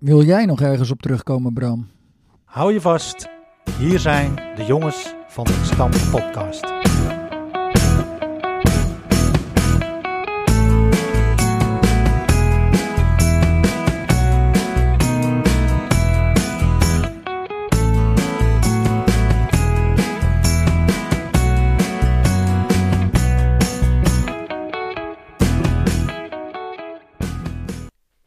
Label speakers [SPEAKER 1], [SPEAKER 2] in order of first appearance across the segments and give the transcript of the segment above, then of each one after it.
[SPEAKER 1] Wil jij nog ergens op terugkomen, Bram?
[SPEAKER 2] Hou je vast, hier zijn de jongens van de Stam Podcast.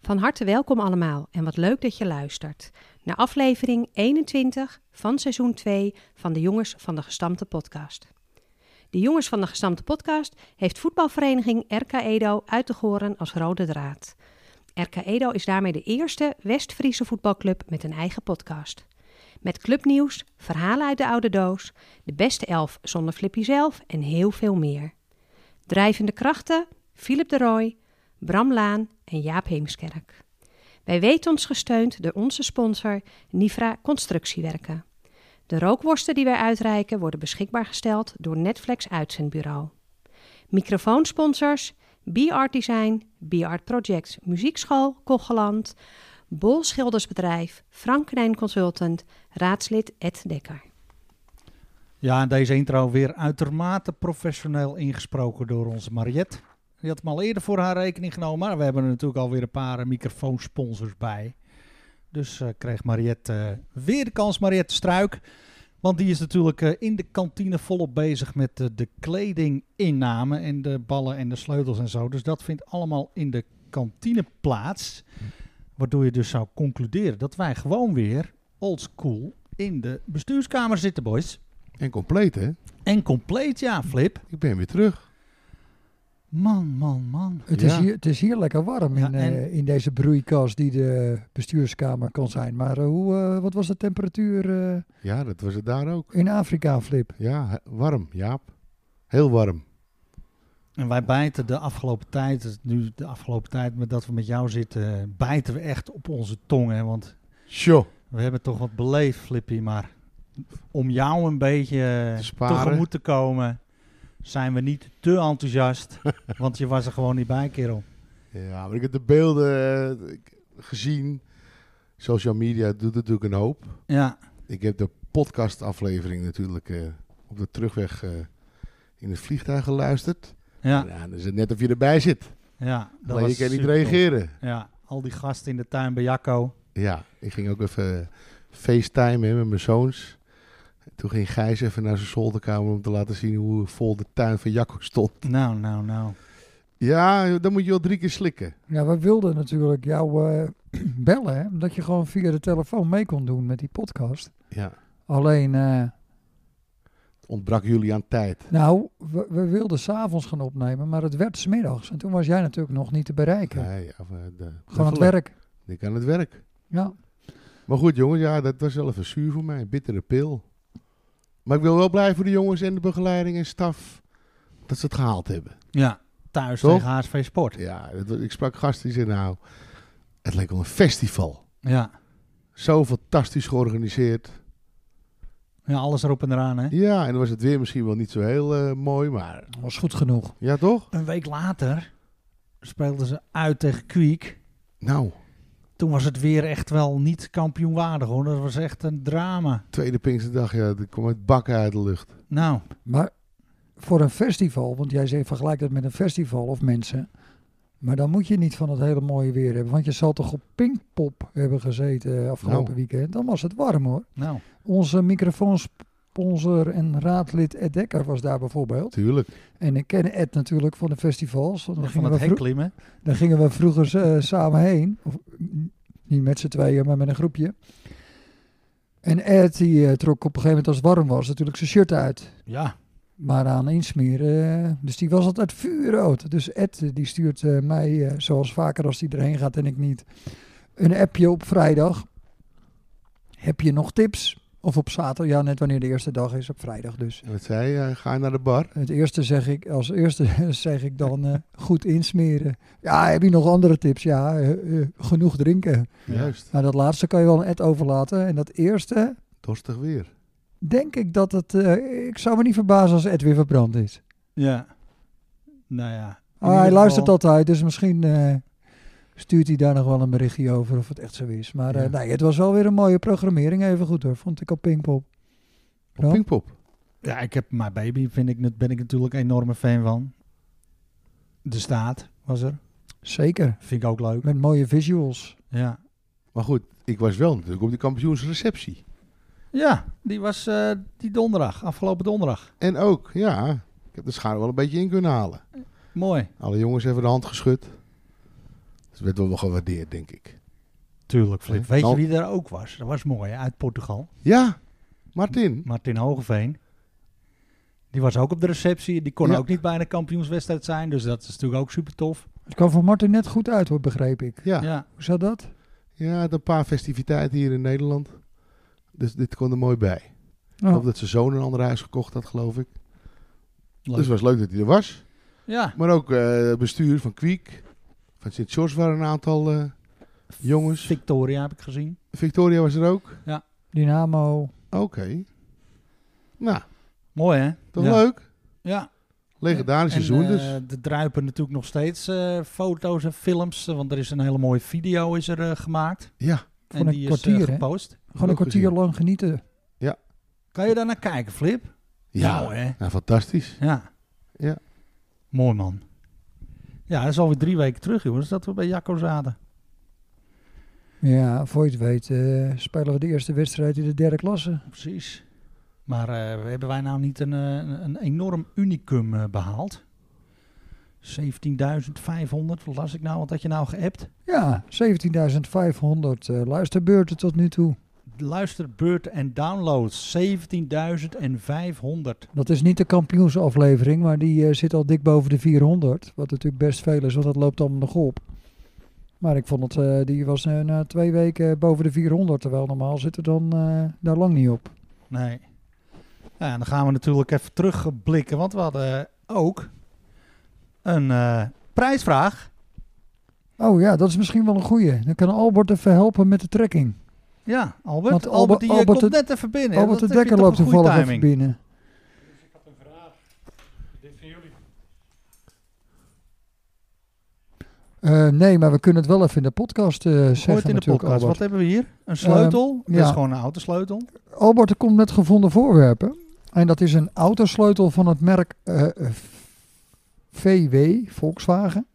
[SPEAKER 3] Van harte welkom allemaal en wat leuk dat je luistert naar aflevering 21 van seizoen 2 van de Jongens van de Gestampte Podcast. De Jongens van de Gestampte Podcast heeft voetbalvereniging RK Edo uit te horen als rode draad. RK Edo is daarmee de eerste West-Friese voetbalclub met een eigen podcast. Met clubnieuws, verhalen uit de oude doos, de beste elf zonder Flippy zelf en heel veel meer. Drijvende krachten, Philip de Rooij, Bram Laan en Jaap Heemskerk. Wij weten ons gesteund door onze sponsor Nifra Constructiewerken. De rookworsten die wij uitreiken worden beschikbaar gesteld door Netflix Uitzendbureau. Microfoonsponsors B-Art Design, B-Art Projects Muziekschool Kocheland, Bol Schildersbedrijf, Frank Knijn Consultant, raadslid Ed Dekker.
[SPEAKER 2] Ja, en deze intro weer uitermate professioneel ingesproken door onze Mariette. Die had hem al eerder voor haar rekening genomen, maar we hebben er natuurlijk alweer een paar eh, microfoonsponsors bij. Dus eh, kreeg Mariette eh, weer de kans, Mariette Struik. Want die is natuurlijk eh, in de kantine volop bezig met eh, de kledinginname en de ballen en de sleutels en zo. Dus dat vindt allemaal in de kantine plaats. Waardoor je dus zou concluderen dat wij gewoon weer oldschool in de bestuurskamer zitten, boys.
[SPEAKER 4] En compleet, hè?
[SPEAKER 2] En compleet, ja, Flip.
[SPEAKER 4] Ik ben weer terug.
[SPEAKER 2] Man, man, man.
[SPEAKER 1] Het, is,
[SPEAKER 4] Ja.
[SPEAKER 1] hier, het is hier lekker warm
[SPEAKER 2] Ja,
[SPEAKER 1] in, eh,
[SPEAKER 2] en-
[SPEAKER 1] in deze broeikas die de bestuurskamer kan zijn. Maar eh, hoe, eh, wat was de temperatuur eh,
[SPEAKER 4] Ja, dat was het daar ook.
[SPEAKER 1] in Afrika, Flip?
[SPEAKER 4] Ja, he- warm, Jaap. Heel warm.
[SPEAKER 2] En wij bijten de afgelopen tijd, nu de afgelopen tijd met dat we met jou zitten, bijten we echt op onze tongen. Want
[SPEAKER 4] Sjo.
[SPEAKER 2] we hebben toch wat beleefd, Flippy. Maar om jou een beetje eh,
[SPEAKER 4] Te sparen.
[SPEAKER 2] tegemoet te komen, zijn we niet te enthousiast. want je was er gewoon niet bij, kerel.
[SPEAKER 4] Ja, maar ik heb de beelden eh, ik- gezien. Social media doet natuurlijk een hoop.
[SPEAKER 2] Ja,
[SPEAKER 4] Ik heb de podcastaflevering natuurlijk eh, op de terugweg eh, in het vliegtuig geluisterd.
[SPEAKER 2] ja,
[SPEAKER 4] Ja. dan is het net of je erbij zit.
[SPEAKER 2] ja. dat
[SPEAKER 4] Alleen je
[SPEAKER 2] was
[SPEAKER 4] kan niet
[SPEAKER 2] supertof.
[SPEAKER 4] reageren.
[SPEAKER 2] Ja, al die gasten in de tuin bij Jacco.
[SPEAKER 4] Ja, ik ging ook even facetimen met mijn zoons. Toen ging Gijs even naar zijn zolderkamer om te laten zien hoe vol de tuin van Jacco stond.
[SPEAKER 2] Nou, nou, nou.
[SPEAKER 4] Ja, dan moet je wel drie keer slikken.
[SPEAKER 1] Ja, we wilden natuurlijk jou eh, bellen, hè, omdat je gewoon via de telefoon mee kon doen met die podcast.
[SPEAKER 4] Ja.
[SPEAKER 1] Alleen, eh,
[SPEAKER 4] Ontbrak jullie aan tijd.
[SPEAKER 1] nou, we, we wilden s'avonds gaan opnemen, maar het werd smiddags. En toen was jij natuurlijk nog niet te bereiken.
[SPEAKER 4] Nee, ja, we- de-
[SPEAKER 1] gewoon aan het
[SPEAKER 4] de-
[SPEAKER 1] werk.
[SPEAKER 4] Ik aan het werk.
[SPEAKER 1] Ja.
[SPEAKER 4] Maar goed, jongens, ja, dat was wel even zuur voor mij. Een bittere pil. Maar ik wil wel blij voor de jongens en de begeleiding en staf dat ze het gehaald hebben.
[SPEAKER 2] Ja, thuis
[SPEAKER 4] Toch?
[SPEAKER 2] tegen HSV Sport.
[SPEAKER 4] Ja, dat was- ik sprak gasten die zeiden nou, het leek wel een festival.
[SPEAKER 2] Ja.
[SPEAKER 4] Zo fantastisch georganiseerd.
[SPEAKER 2] ja, alles erop en eraan, hè.
[SPEAKER 4] Ja, en dan was het weer misschien wel niet zo heel eh, mooi, maar
[SPEAKER 1] Dat was goed genoeg.
[SPEAKER 4] ja toch?
[SPEAKER 2] Een week later speelden ze uit tegen Kwiek.
[SPEAKER 4] Nou,
[SPEAKER 2] Toen was het weer echt wel niet kampioenwaardig hoor. Dat was echt een drama.
[SPEAKER 4] tweede Pinksterdag, ja, er kwam het bakken uit de lucht.
[SPEAKER 2] Nou,
[SPEAKER 1] Maar voor een festival, want jij zegt vergelijk dat met een festival of mensen. Maar dan moet je niet van het hele mooie weer hebben. Want je zal toch op Pinkpop hebben gezeten afgelopen
[SPEAKER 4] Nou.
[SPEAKER 1] weekend. Dan was het warm hoor.
[SPEAKER 2] nou.
[SPEAKER 1] Onze microfoonsponsor en raadlid Ed Dekker was daar bijvoorbeeld.
[SPEAKER 4] Tuurlijk.
[SPEAKER 1] En ik ken Ed natuurlijk van de festivals. want Daar
[SPEAKER 2] Van
[SPEAKER 1] gingen,
[SPEAKER 2] het
[SPEAKER 1] we
[SPEAKER 2] hek
[SPEAKER 1] vro-
[SPEAKER 2] klimmen.
[SPEAKER 1] daar gingen we vroeger eh, samen heen. Of, mm, niet met z'n tweeën, maar met een groepje. En Ed die eh, trok op een gegeven moment als het warm was natuurlijk zijn shirt uit.
[SPEAKER 2] Ja.
[SPEAKER 1] Maar aan insmeren. eh, Dus die was altijd vuurrood. Dus Ed eh, die stuurt eh, mij, eh, zoals vaker als hij erheen gaat en ik niet, een appje op vrijdag. Heb je nog tips? Of op zaterdag, ja, net wanneer de eerste dag is, op vrijdag dus.
[SPEAKER 4] En wat zei je? Eh, Ga je naar de bar?
[SPEAKER 1] Het eerste zeg ik, als eerste zeg ik dan eh, goed insmeren. Ja, heb je nog andere tips? Ja, eh, eh, genoeg drinken.
[SPEAKER 2] Ja.
[SPEAKER 4] Juist.
[SPEAKER 1] Nou, dat laatste kan je wel aan Ed overlaten. En dat eerste,
[SPEAKER 4] Dorstig weer.
[SPEAKER 1] denk ik dat het, eh, ik zou me niet verbazen als Ed weer verbrand is.
[SPEAKER 2] Ja. Nou ja. In
[SPEAKER 1] Ah,
[SPEAKER 2] ieder
[SPEAKER 1] hij
[SPEAKER 2] geval-
[SPEAKER 1] luistert altijd, dus misschien eh, stuurt hij daar nog wel een berichtje over of het echt zo is. Maar eh,
[SPEAKER 4] Ja.
[SPEAKER 1] nee, het was wel weer een mooie programmering. Even goed hoor, vond ik op Pinkpop.
[SPEAKER 4] Op Pinkpop.
[SPEAKER 2] Ja, ik heb My Baby, vind ik, nat- ben ik natuurlijk een enorme fan van. De Staat was er.
[SPEAKER 1] Zeker,
[SPEAKER 2] Vind ik ook leuk.
[SPEAKER 1] met mooie visuals.
[SPEAKER 2] Ja,
[SPEAKER 4] Maar goed, ik was wel natuurlijk op die kampioensreceptie.
[SPEAKER 2] ja die was eh, die donderdag, afgelopen donderdag.
[SPEAKER 4] En ook, ja, ik heb de schaar wel een beetje in kunnen halen.
[SPEAKER 2] Mooi.
[SPEAKER 4] Alle jongens even de hand geschud. Dus werd wel wel gewaardeerd, denk ik.
[SPEAKER 2] Tuurlijk, Flip.
[SPEAKER 4] Eh,
[SPEAKER 2] Weet je
[SPEAKER 4] nou-
[SPEAKER 2] wie er ook was? Dat was mooi, hè, uit Portugal.
[SPEAKER 4] Ja, Martin.
[SPEAKER 2] Martin Hogeveen. Die was ook op de receptie. Die kon
[SPEAKER 4] Ja.
[SPEAKER 2] ook niet bij een kampioenswedstrijd zijn. Dus dat is natuurlijk ook super tof.
[SPEAKER 1] Het kwam voor Martin net goed uit hoor, begreep ik.
[SPEAKER 4] Ja, ja.
[SPEAKER 2] Ja.
[SPEAKER 1] Hoe zat dat?
[SPEAKER 4] had een paar festiviteiten hier in Nederland. Dus dit kon er mooi bij. Ik
[SPEAKER 1] Nou,
[SPEAKER 4] geloof dat zijn zoon een ander huis gekocht had, geloof ik.
[SPEAKER 2] Leuk.
[SPEAKER 4] Dus het was leuk dat hij er was.
[SPEAKER 2] ja.
[SPEAKER 4] Maar ook eh, het bestuur van Kwiek. Van Sint-George waren een aantal eh, jongens.
[SPEAKER 2] Victoria heb ik gezien.
[SPEAKER 4] Victoria was er ook.
[SPEAKER 1] Dynamo.
[SPEAKER 4] Oké. Nou,
[SPEAKER 2] Mooi, hè?
[SPEAKER 4] toch
[SPEAKER 2] ja.
[SPEAKER 4] leuk.
[SPEAKER 2] Ja.
[SPEAKER 4] Legendarisch
[SPEAKER 2] En,
[SPEAKER 4] seizoen dus.
[SPEAKER 2] eh, er druipen natuurlijk nog steeds eh, foto's en films. eh, Want er is een hele mooie video is er, eh, gemaakt.
[SPEAKER 4] ja,
[SPEAKER 1] Van
[SPEAKER 2] en
[SPEAKER 1] een
[SPEAKER 2] die is
[SPEAKER 1] kwartier,
[SPEAKER 2] eh,
[SPEAKER 1] hè?
[SPEAKER 2] gepost.
[SPEAKER 1] Gewoon een
[SPEAKER 4] Ook
[SPEAKER 1] kwartier
[SPEAKER 4] gezien.
[SPEAKER 1] lang genieten.
[SPEAKER 2] Kan je daar naar kijken, Flip?
[SPEAKER 4] ja.
[SPEAKER 2] Nou, hè?
[SPEAKER 4] Nou, fantastisch.
[SPEAKER 2] Ja.
[SPEAKER 4] Ja.
[SPEAKER 2] Mooi, man. Ja, dat is alweer drie weken terug, jongens, dat we bij Jacco zaten.
[SPEAKER 1] Ja, voor je het weet eh, spelen we de eerste wedstrijd in de derde klasse.
[SPEAKER 2] Precies. Maar eh, hebben wij nou niet een, eh, een- een enorm unicum eh, behaald? 17.500, wat las ik nou? Wat had je nou geappt?
[SPEAKER 1] Ja, 17.500 eh, luisterbeurten tot nu toe.
[SPEAKER 2] Luisterbeurten en downloads, 17.500.
[SPEAKER 1] Dat is niet de kampioensaflevering, maar die eh, zit al dik boven de 400. Wat natuurlijk best veel is, want dat loopt allemaal nog op. Maar ik vond het, eh, die was eh, na twee weken boven de 400. Terwijl normaal zit er dan eh, daar lang niet op.
[SPEAKER 2] Nee. Ja, en dan gaan we natuurlijk even terugblikken, want we hadden eh, ook een eh, prijsvraag.
[SPEAKER 1] Oh ja, dat is misschien wel een goeie. Dan kan Albert even helpen met de trekking.
[SPEAKER 2] Ja, Albert.
[SPEAKER 1] Want
[SPEAKER 2] Albert,
[SPEAKER 1] Albert-
[SPEAKER 2] die eh,
[SPEAKER 1] Albert
[SPEAKER 2] komt
[SPEAKER 1] de-
[SPEAKER 2] net even binnen.
[SPEAKER 1] Albert de
[SPEAKER 2] Dat heb je
[SPEAKER 1] Dekker
[SPEAKER 2] toch
[SPEAKER 1] loopt
[SPEAKER 2] een goede
[SPEAKER 1] toevallig even
[SPEAKER 2] timing.
[SPEAKER 1] binnen. Eh, nee, maar we kunnen het wel even in de podcast eh,
[SPEAKER 2] Gooi het
[SPEAKER 1] zeggen
[SPEAKER 2] in de
[SPEAKER 1] natuurlijk,
[SPEAKER 2] podcast. Wat
[SPEAKER 1] Albert. Ehm,
[SPEAKER 2] hebben we hier? Een sleutel. Dat
[SPEAKER 1] ja.
[SPEAKER 2] is gewoon een autosleutel.
[SPEAKER 1] Albert, er komt met gevonden voorwerpen. En dat is een autosleutel van het merk eh, VW, Volkswagen.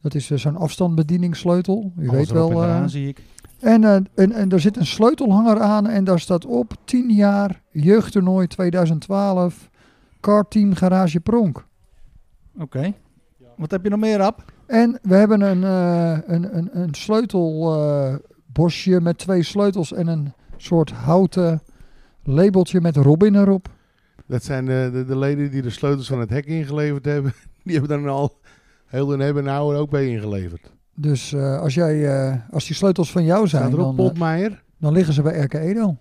[SPEAKER 1] Dat is eh, zo'n afstandsbedieningssleutel. U weet wel. eh,
[SPEAKER 2] zie ik.
[SPEAKER 1] en, eh, en, en er zit een sleutelhanger aan en daar staat op 10 jaar jeugdtoernooi 2012 karteam garage pronk.
[SPEAKER 2] Oké. Wat heb je nog meer, Ab?
[SPEAKER 1] En we hebben een, eh, een, een, een sleutelbosje met twee sleutels en een soort houten labeltje met Robin erop.
[SPEAKER 4] Dat zijn de, de, de leden die de sleutels van het hek ingeleverd hebben. Die hebben dan al heel hun hebben en houden ook bij ingeleverd.
[SPEAKER 1] Dus eh, als, jij, eh, als die sleutels van jou zijn,
[SPEAKER 4] Staat er ook
[SPEAKER 1] dan, eh,
[SPEAKER 4] Potmeijer
[SPEAKER 1] dan liggen ze bij RK Edo.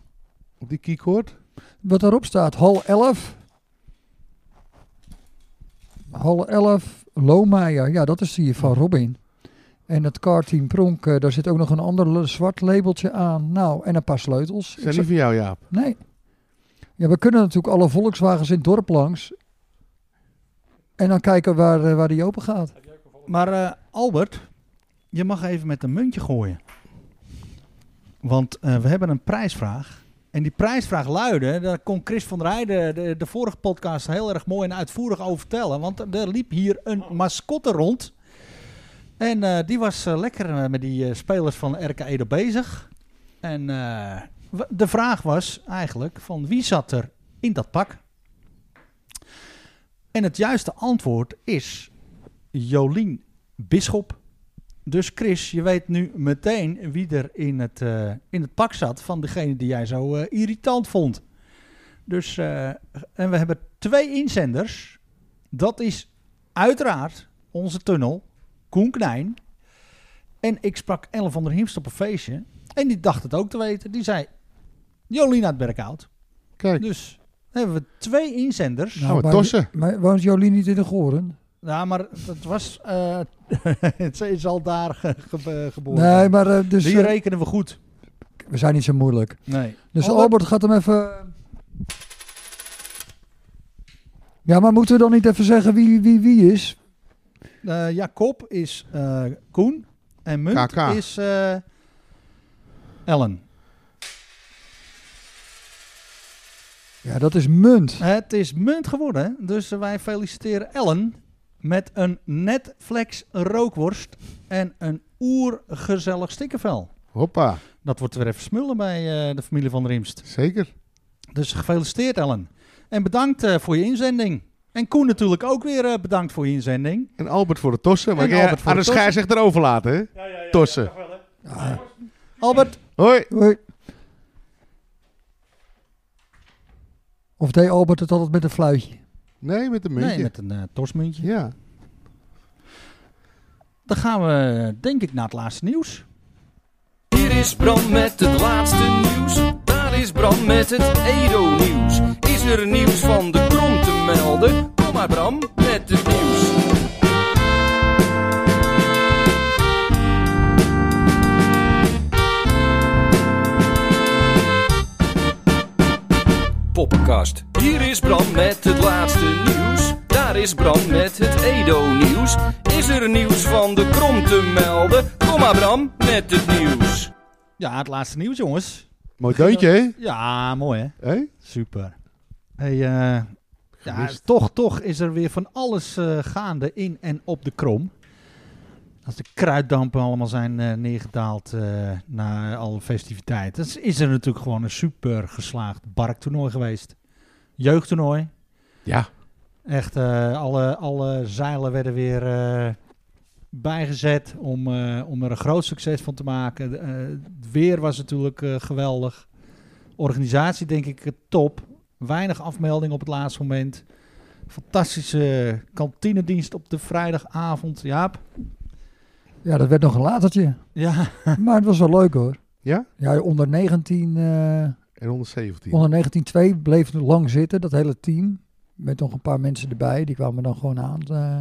[SPEAKER 4] op die keycord?
[SPEAKER 1] Wat daarop staat, hal 11. Hal 11, Lohmeijer. Ja, dat is die van Robin. En het karteam Pronk, eh, daar zit ook nog een ander le- zwart labeltje aan. Nou, en een paar sleutels. Ik
[SPEAKER 4] Zijn die van jou, Jaap?
[SPEAKER 1] zou- Nee. Ja, we kunnen natuurlijk alle Volkswagens in het dorp langs. En dan kijken waar, eh, waar die open gaat.
[SPEAKER 2] Maar eh, Albert, je mag even met een muntje gooien. Want eh, we hebben een prijsvraag. En die prijsvraag luidde, daar kon Chris van der Heijden de, de vorige podcast heel erg mooi en uitvoerig over vertellen. Want er liep hier een mascotte rond. En eh, die was eh, lekker eh, met die eh, spelers van RK Edo bezig. En eh, w- de vraag was eigenlijk van wie zat er in dat pak? En het juiste antwoord is Jolien Bisschop. Dus Chris, je weet nu meteen wie er in het, eh, in het pak zat van degene die jij zo eh, irritant vond. Dus, eh, en we hebben twee inzenders. Dat is uiteraard onze tunnel, Koen Knijn. En ik sprak Ellen van der Hiemst op een feestje. En die dacht het ook te weten. Die zei, Jolien uit Berkhout.
[SPEAKER 4] Kijk,
[SPEAKER 2] Dus hebben we twee inzenders.
[SPEAKER 1] Nou,
[SPEAKER 4] we
[SPEAKER 1] maar-
[SPEAKER 4] tossen.
[SPEAKER 1] Maar woont Jolien niet in de Goren?
[SPEAKER 2] Nou, maar dat was. eh, ze is al daar ge- ge- eh, geboren.
[SPEAKER 1] Nee, maar eh, dus,
[SPEAKER 2] Die
[SPEAKER 1] eh,
[SPEAKER 2] rekenen we goed.
[SPEAKER 1] we zijn niet zo moeilijk.
[SPEAKER 2] Nee.
[SPEAKER 1] Dus
[SPEAKER 2] Albert-
[SPEAKER 1] Albert, gaat hem even. Ja, maar moeten we dan niet even zeggen wie wie, wie is?
[SPEAKER 2] Jacob is eh, Koen. En munt
[SPEAKER 4] KK.
[SPEAKER 2] is eh, Ellen.
[SPEAKER 1] Ja, dat is munt.
[SPEAKER 2] Het is munt geworden, dus wij feliciteren Ellen met een Netflix rookworst en een oergezellig stikkervel.
[SPEAKER 4] Hoppa,
[SPEAKER 2] Dat wordt weer even smullen bij eh, de familie van Riemst.
[SPEAKER 4] zeker.
[SPEAKER 2] Dus gefeliciteerd Ellen. En bedankt eh, voor je inzending. En Koen natuurlijk ook weer eh, bedankt voor je inzending.
[SPEAKER 4] En Albert voor de tossen. Maar
[SPEAKER 2] En
[SPEAKER 4] jij
[SPEAKER 2] Albert voor
[SPEAKER 4] aan
[SPEAKER 2] de
[SPEAKER 4] de scheidsrechter overlaten, hè? tossen.
[SPEAKER 1] Ja.
[SPEAKER 2] Albert,
[SPEAKER 4] Hoi.
[SPEAKER 1] Hoi. Of deed Albert het altijd met een fluitje?
[SPEAKER 4] Nee, met een muntje.
[SPEAKER 2] nee, met een eh, torsmuntje.
[SPEAKER 4] Ja.
[SPEAKER 2] Dan gaan we eh, denk ik naar het laatste nieuws.
[SPEAKER 5] Hier is Bram met het laatste nieuws. Daar is Bram met het Edo-nieuws. Is er nieuws van de krom te melden? Kom maar Bram met het nieuws. Poppenkast. Hier is Bram met het laatste nieuws. Daar is Bram met het Edo-nieuws. Is er nieuws van de krom te melden? Kom maar Bram met het nieuws.
[SPEAKER 2] Ja, het laatste nieuws jongens.
[SPEAKER 4] Mooi deuntje, hè?
[SPEAKER 2] Ja, mooi hè.
[SPEAKER 4] Hé?
[SPEAKER 2] Super. Hey, eh, ja,
[SPEAKER 4] Gemist.
[SPEAKER 2] toch, toch is er weer van alles eh, gaande in en op de krom. Als de kruiddampen allemaal zijn eh, neergedaald eh, na alle festiviteiten, dus is er natuurlijk gewoon een super geslaagd barktoernooi geweest. Jeugdtoernooi.
[SPEAKER 4] Ja.
[SPEAKER 2] Echt, eh, alle, alle zeilen werden weer eh, bijgezet om, eh, om er een groot succes van te maken. De, eh, het weer was natuurlijk eh, geweldig. Organisatie denk ik eh, top. Weinig afmelding op het laatste moment. Fantastische kantinedienst op de vrijdagavond. Jaap?
[SPEAKER 1] Ja, dat werd nog een latertje.
[SPEAKER 2] Ja.
[SPEAKER 1] Maar het was wel leuk hoor.
[SPEAKER 4] Ja?
[SPEAKER 1] Ja, onder 19, eh
[SPEAKER 4] En 117.
[SPEAKER 1] onder 19 2 bleef het lang zitten, dat hele team. Met nog een paar mensen erbij, die kwamen dan gewoon aan. eh,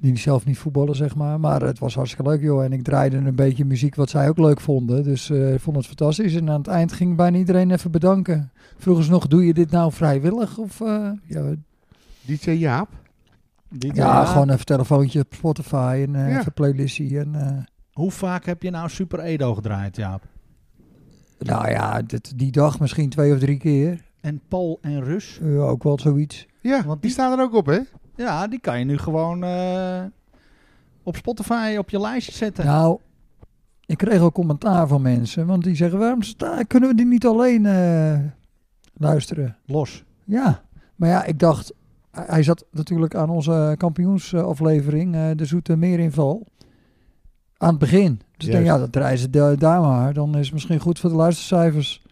[SPEAKER 1] die zelf niet voetballen, zeg maar. Maar het was hartstikke leuk, joh. En ik draaide een beetje muziek wat zij ook leuk vonden. Dus eh, ik vond het fantastisch. En aan het eind ging bijna iedereen even bedanken. Vroegen ze nog, doe je dit nou vrijwillig? Of, eh, ja,
[SPEAKER 4] DJ Jaap.
[SPEAKER 2] Dit,
[SPEAKER 1] Ja,
[SPEAKER 2] eh,
[SPEAKER 1] gewoon even telefoontje op Spotify en eh
[SPEAKER 4] Ja.
[SPEAKER 1] even playlistie. En, eh,
[SPEAKER 2] Hoe vaak heb je nou Super Edo gedraaid, Jaap?
[SPEAKER 1] nou ja, dit, die dag misschien twee of drie keer.
[SPEAKER 2] En Paul en Rus?
[SPEAKER 1] Ja, ook wel zoiets.
[SPEAKER 4] Ja,
[SPEAKER 2] Want
[SPEAKER 4] Want
[SPEAKER 2] die-
[SPEAKER 4] die staan er ook op, hè?
[SPEAKER 2] Ja, die kan je nu gewoon eh, op Spotify op je lijstje zetten.
[SPEAKER 1] Nou, ik kreeg al commentaar van mensen. Want die zeggen, waarom sta, kunnen we die niet alleen eh, luisteren?
[SPEAKER 2] Los.
[SPEAKER 1] Ja, maar ja, ik dacht... Hij hij zat natuurlijk aan onze kampioensaflevering, eh, de Zoete Meerinval. Aan het begin. Dus ik denk,
[SPEAKER 4] Juist.
[SPEAKER 1] ja, dat draaien ze da- daar maar. Dan is het misschien goed voor de luistercijfers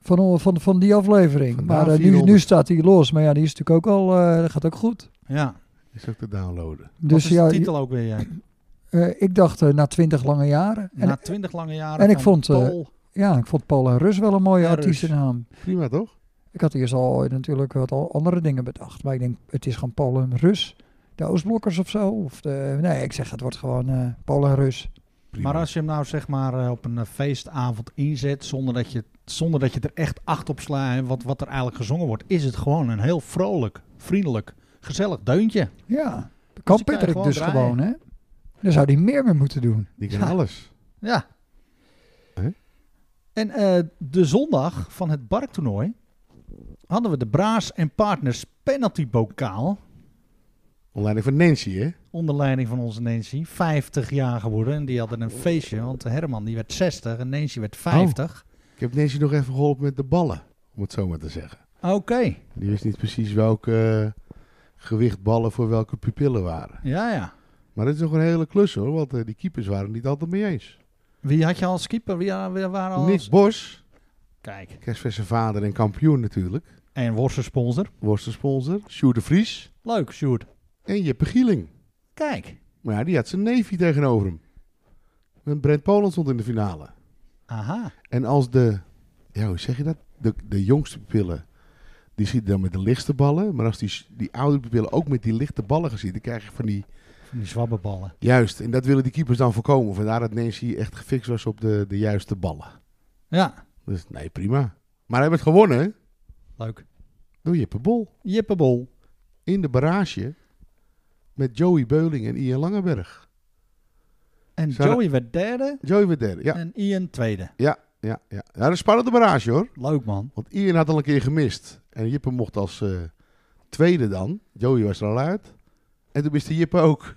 [SPEAKER 1] van, on- van, van die aflevering.
[SPEAKER 4] Vandaar
[SPEAKER 1] maar eh, nu,
[SPEAKER 4] 400.
[SPEAKER 1] nu staat hij los. Maar ja, die is natuurlijk ook al... eh, dat gaat ook goed.
[SPEAKER 2] Ja.
[SPEAKER 4] Is ook te downloaden.
[SPEAKER 1] Dus
[SPEAKER 2] Wat is
[SPEAKER 1] ja,
[SPEAKER 2] de titel ook weer? Jij?
[SPEAKER 1] eh, ik dacht eh, na twintig lange jaren. En,
[SPEAKER 2] Na twintig lange jaren.
[SPEAKER 1] en ik
[SPEAKER 2] van
[SPEAKER 1] vond, eh,
[SPEAKER 2] Paul.
[SPEAKER 1] Ja, ik vond Paul en Rus wel een mooie
[SPEAKER 2] Ja, Rus.
[SPEAKER 1] artiestennaam.
[SPEAKER 4] Prima, toch?
[SPEAKER 1] Ik had eerst al natuurlijk wat al andere dingen bedacht. Maar ik denk, het is gewoon Paul en Rus. De Oostblokkers of zo. Of de, nee, ik zeg, het wordt gewoon eh Paul en Rus.
[SPEAKER 4] Prima.
[SPEAKER 2] maar als je hem nou zeg maar eh, op een eh, feestavond inzet zonder dat je, zonder dat je er echt acht op slaat en wat, wat er eigenlijk gezongen wordt, is het gewoon een heel vrolijk, vriendelijk, gezellig deuntje.
[SPEAKER 1] Ja, kan
[SPEAKER 2] je kan
[SPEAKER 1] Patrick
[SPEAKER 2] gewoon
[SPEAKER 1] dus
[SPEAKER 2] draaien.
[SPEAKER 1] gewoon, hè? Daar zou hij meer mee moeten doen.
[SPEAKER 4] Die kan
[SPEAKER 2] Ja.
[SPEAKER 4] alles.
[SPEAKER 2] Ja.
[SPEAKER 4] Hè?
[SPEAKER 2] En eh, de zondag van het Barktoernooi hadden we de Braas en Partners penalty bokaal
[SPEAKER 4] Online van Nancy, hè?
[SPEAKER 2] onder leiding van onze Nancy, 50 jaar geworden. En die hadden een feestje, want Herman die werd 60 en Nancy werd 50.
[SPEAKER 4] Ik heb Nancy nog even geholpen met de ballen. Om het zo maar te zeggen.
[SPEAKER 2] Oké,
[SPEAKER 4] Die wist niet precies welke eh, gewicht ballen voor welke pupillen waren.
[SPEAKER 2] ja ja.
[SPEAKER 4] Maar dit is nog een hele klus, hoor. Want eh, die keepers waren het niet altijd mee eens.
[SPEAKER 2] Wie had je als keeper? Wie, eh, wie waren al
[SPEAKER 4] Nick Bos,
[SPEAKER 2] Kijk.
[SPEAKER 4] kerstverse vader en kampioen natuurlijk.
[SPEAKER 2] En Worse sponsor.
[SPEAKER 4] Worst de sponsor. Sjoerd de Vries.
[SPEAKER 2] Leuk, Sjoerd.
[SPEAKER 4] En Jeppe Gieling.
[SPEAKER 2] Kijk.
[SPEAKER 4] Maar ja, die had zijn neefje tegenover hem. En Brent Poland stond in de finale.
[SPEAKER 2] Aha.
[SPEAKER 4] En als de, ja, hoe zeg je dat? De, de jongste pupillen, die schieten dan met de lichtste ballen. Maar als die, die oude pupillen ook met die lichte ballen gaan schieten, dan krijg je van die...
[SPEAKER 2] Van die zwabbeballen.
[SPEAKER 4] Juist, en dat willen die keepers dan voorkomen. Vandaar dat Nancy echt gefixt was op de, de juiste ballen.
[SPEAKER 2] Ja,
[SPEAKER 4] Dus nee, prima. Maar hij werd gewonnen hè,
[SPEAKER 2] leuk.
[SPEAKER 4] door Jeppe Bol.
[SPEAKER 2] Jippebol.
[SPEAKER 4] In de barrage met Joey Beuling en Ian Langeberg.
[SPEAKER 2] En
[SPEAKER 4] Zou dat-
[SPEAKER 2] Joey werd derde
[SPEAKER 4] Joey werd derde. Ja,
[SPEAKER 2] en Ian tweede.
[SPEAKER 4] ja, ja. ja dat is een spannende barrage hoor.
[SPEAKER 2] Leuk man.
[SPEAKER 4] Want Ian had al een keer gemist. En Jippe mocht als eh, tweede dan. Joey was er al uit. En toen miste Jippe ook.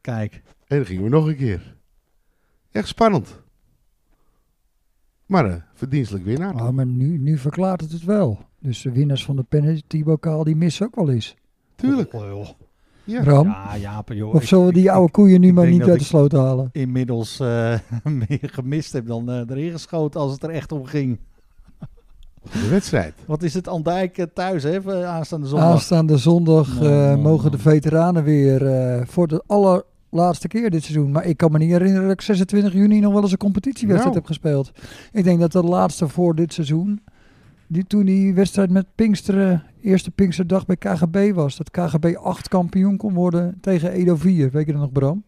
[SPEAKER 2] Kijk,
[SPEAKER 4] En dan gingen we nog een keer. Echt spannend. Maar eh, verdienstelijk winnaar.
[SPEAKER 1] Ah, maar nu, nu verklaart het het wel. Dus de winnaars van de penaltybokaal, die missen ook wel eens.
[SPEAKER 4] Tuurlijk.
[SPEAKER 2] Oh, joh.
[SPEAKER 4] Ja.
[SPEAKER 1] Ram,
[SPEAKER 2] Ja, Jaap, joh.
[SPEAKER 1] of
[SPEAKER 2] ik-
[SPEAKER 1] zullen we
[SPEAKER 2] ik-
[SPEAKER 1] die
[SPEAKER 2] ik
[SPEAKER 1] oude koeien nu
[SPEAKER 2] ik
[SPEAKER 1] maar
[SPEAKER 2] denk
[SPEAKER 1] niet
[SPEAKER 2] dat
[SPEAKER 1] uit de
[SPEAKER 2] ik-
[SPEAKER 1] sloot halen?
[SPEAKER 2] inmiddels eh, meer gemist heb dan eh, erin geschoten als het er echt om ging.
[SPEAKER 4] De wedstrijd.
[SPEAKER 2] Wat is het, Andijk eh, thuis, hè, voor aanstaande zondag?
[SPEAKER 1] Aanstaande zondag
[SPEAKER 2] Nou,
[SPEAKER 1] eh,
[SPEAKER 2] nou,
[SPEAKER 1] mogen
[SPEAKER 2] nou.
[SPEAKER 1] de veteranen weer eh, voor de allerlaatste keer dit seizoen. Maar ik kan me niet herinneren dat ik 26 juni nog wel eens een competitiewedstrijd heb
[SPEAKER 4] Nou.
[SPEAKER 1] gespeeld. Ik denk dat de laatste voor dit seizoen, die, toen die wedstrijd met Pinksteren, eerste Pinksterdag bij KGB was. Dat KGB 8 kampioen kon worden tegen Edo 4. Weet je dat nog, Bram?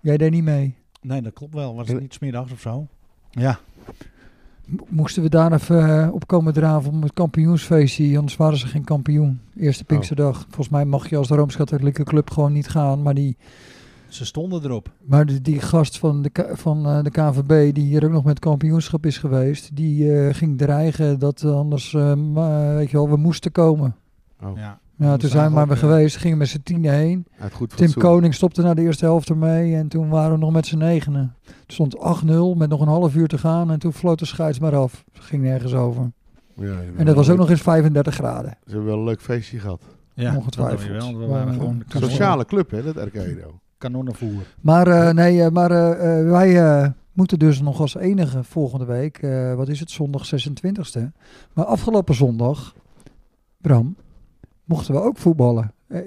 [SPEAKER 1] Jij deed niet mee.
[SPEAKER 2] Nee, dat klopt wel. Was het niet smiddags of zo? Ja,
[SPEAKER 1] Mo- Moesten we daar even eh, op komen draven om het kampioensfeestje? Anders waren ze geen kampioen. Eerste
[SPEAKER 2] Oh.
[SPEAKER 1] Pinksterdag. Volgens mij mag je als Rooms-Katholieke Club gewoon niet gaan. Maar die,
[SPEAKER 2] ze stonden erop.
[SPEAKER 1] maar die, die gast van, de, K- van eh, de KVB, die hier ook nog met kampioenschap is geweest, die eh, ging dreigen dat anders, eh, ma- weet je wel, we moesten komen.
[SPEAKER 4] Oh,
[SPEAKER 2] Ja.
[SPEAKER 1] Nou,
[SPEAKER 2] Dat
[SPEAKER 1] toen
[SPEAKER 2] is
[SPEAKER 1] zijn we maar weer
[SPEAKER 2] eigenlijk,
[SPEAKER 1] geweest, gingen met z'n tienen heen.
[SPEAKER 4] uit goed
[SPEAKER 1] Tim
[SPEAKER 4] fatsoen.
[SPEAKER 1] Koning stopte na de eerste helft ermee en toen waren we nog met z'n negenen. Het stond 8-0 met nog een half uur te gaan en toen floot de scheids maar af. Ging nergens over.
[SPEAKER 4] Ja, ze hebben
[SPEAKER 1] En dat was
[SPEAKER 4] wel
[SPEAKER 1] ook nog eens 35 graden.
[SPEAKER 4] Ze hebben wel een leuk feestje gehad.
[SPEAKER 2] Ja,
[SPEAKER 1] Ongetwijfeld.
[SPEAKER 2] dat weet je wel. We
[SPEAKER 1] Maar,
[SPEAKER 2] waren
[SPEAKER 1] eh,
[SPEAKER 2] gewoon
[SPEAKER 1] Kan
[SPEAKER 4] Sociale club, hè, dat Arcado.
[SPEAKER 2] kanonnenvoer.
[SPEAKER 1] Maar eh, nee, eh, maar eh, eh, wij eh, moeten dus nog als enige volgende week, eh, wat is het, zondag 26e. Maar afgelopen zondag, Bram, mochten we ook voetballen. Eh,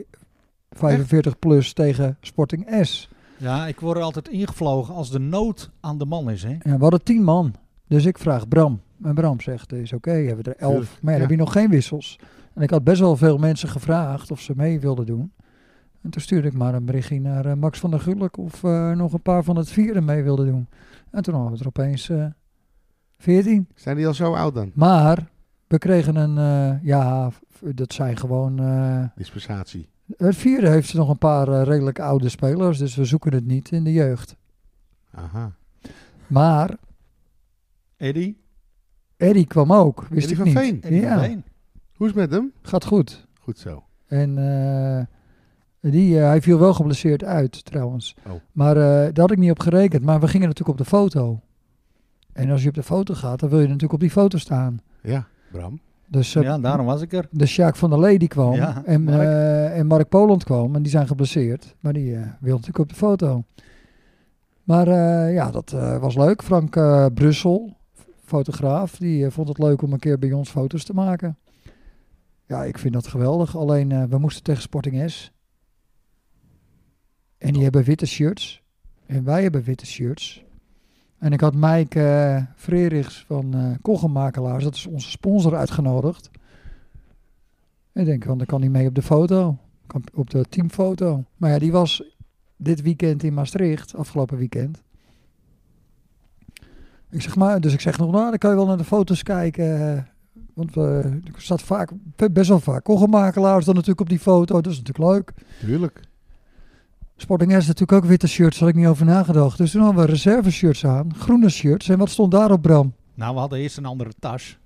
[SPEAKER 1] 45 plus tegen Sporting S.
[SPEAKER 2] Ja, ik word er altijd ingevlogen als de nood aan de man is, hè?
[SPEAKER 1] En we hadden 10 man. Dus ik vraag Bram. En Bram zegt, is oké, hebben we er 11.
[SPEAKER 4] Tuurlijk,
[SPEAKER 1] Maar ja, dan
[SPEAKER 4] ja.
[SPEAKER 1] heb je nog geen wissels. En ik had best wel veel mensen gevraagd of ze mee wilden doen. En toen stuurde ik maar een berichtje naar eh, Max van der Gulik of eh, nog een paar van het vierde mee wilden doen. En toen hadden we er opeens eh 14.
[SPEAKER 4] Zijn die al zo oud dan?
[SPEAKER 1] Maar we kregen een, eh, ja, v- dat zijn gewoon... eh,
[SPEAKER 4] Dispensatie.
[SPEAKER 1] het vierde heeft nog een paar eh, redelijk oude spelers, dus we zoeken het niet in de jeugd.
[SPEAKER 4] Aha.
[SPEAKER 1] Maar
[SPEAKER 2] Eddie?
[SPEAKER 1] Eddie kwam ook, wist
[SPEAKER 4] Eddie
[SPEAKER 1] ik
[SPEAKER 4] van
[SPEAKER 1] niet.
[SPEAKER 4] Veen.
[SPEAKER 2] Eddie
[SPEAKER 1] ja.
[SPEAKER 2] van Veen.
[SPEAKER 4] Hoe is het met hem?
[SPEAKER 1] Gaat goed.
[SPEAKER 4] Goed zo.
[SPEAKER 1] En eh, die, eh, hij viel wel geblesseerd uit trouwens.
[SPEAKER 4] Oh.
[SPEAKER 1] Maar eh, daar had ik niet op gerekend. Maar we gingen natuurlijk op de foto. En als je op de foto gaat, dan wil je natuurlijk op die foto staan.
[SPEAKER 4] Ja, Bram.
[SPEAKER 1] Dus eh,
[SPEAKER 2] Ja, daarom was ik er.
[SPEAKER 1] de Sjaak van der Lee die kwam.
[SPEAKER 2] Ja,
[SPEAKER 1] en,
[SPEAKER 2] Mark.
[SPEAKER 1] eh, en Mark Poland kwam. En die zijn geblesseerd. Maar die eh, wil natuurlijk op de foto. Maar eh, ja, dat eh, was leuk. Frank eh, Brussel, f- fotograaf, die eh, vond het leuk om een keer bij ons foto's te maken. Ja, ik vind dat geweldig. Alleen, eh, we moesten tegen Sporting S. En die hebben witte shirts. En wij hebben witte shirts. En ik had Mike eh Frerichs van eh Koggenmakelaars, dat is onze sponsor, uitgenodigd. Ik denk, want dan kan hij mee op de foto. Kan- Op de teamfoto. Maar ja, die was dit weekend in Maastricht, afgelopen weekend. Ik zeg maar, dus ik zeg nog, nou, dan kan je wel naar de foto's kijken. eh, Want eh, er staat vaak, best wel vaak koggenmakelaars dan natuurlijk op die foto. Dat is natuurlijk leuk.
[SPEAKER 4] Tuurlijk.
[SPEAKER 1] Sporting S natuurlijk ook witte shirts, daar had ik niet over nagedacht. Dus toen hadden we reserve shirts aan, groene shirts. En wat stond daarop, Bram?
[SPEAKER 2] Nou, we hadden eerst een andere tas.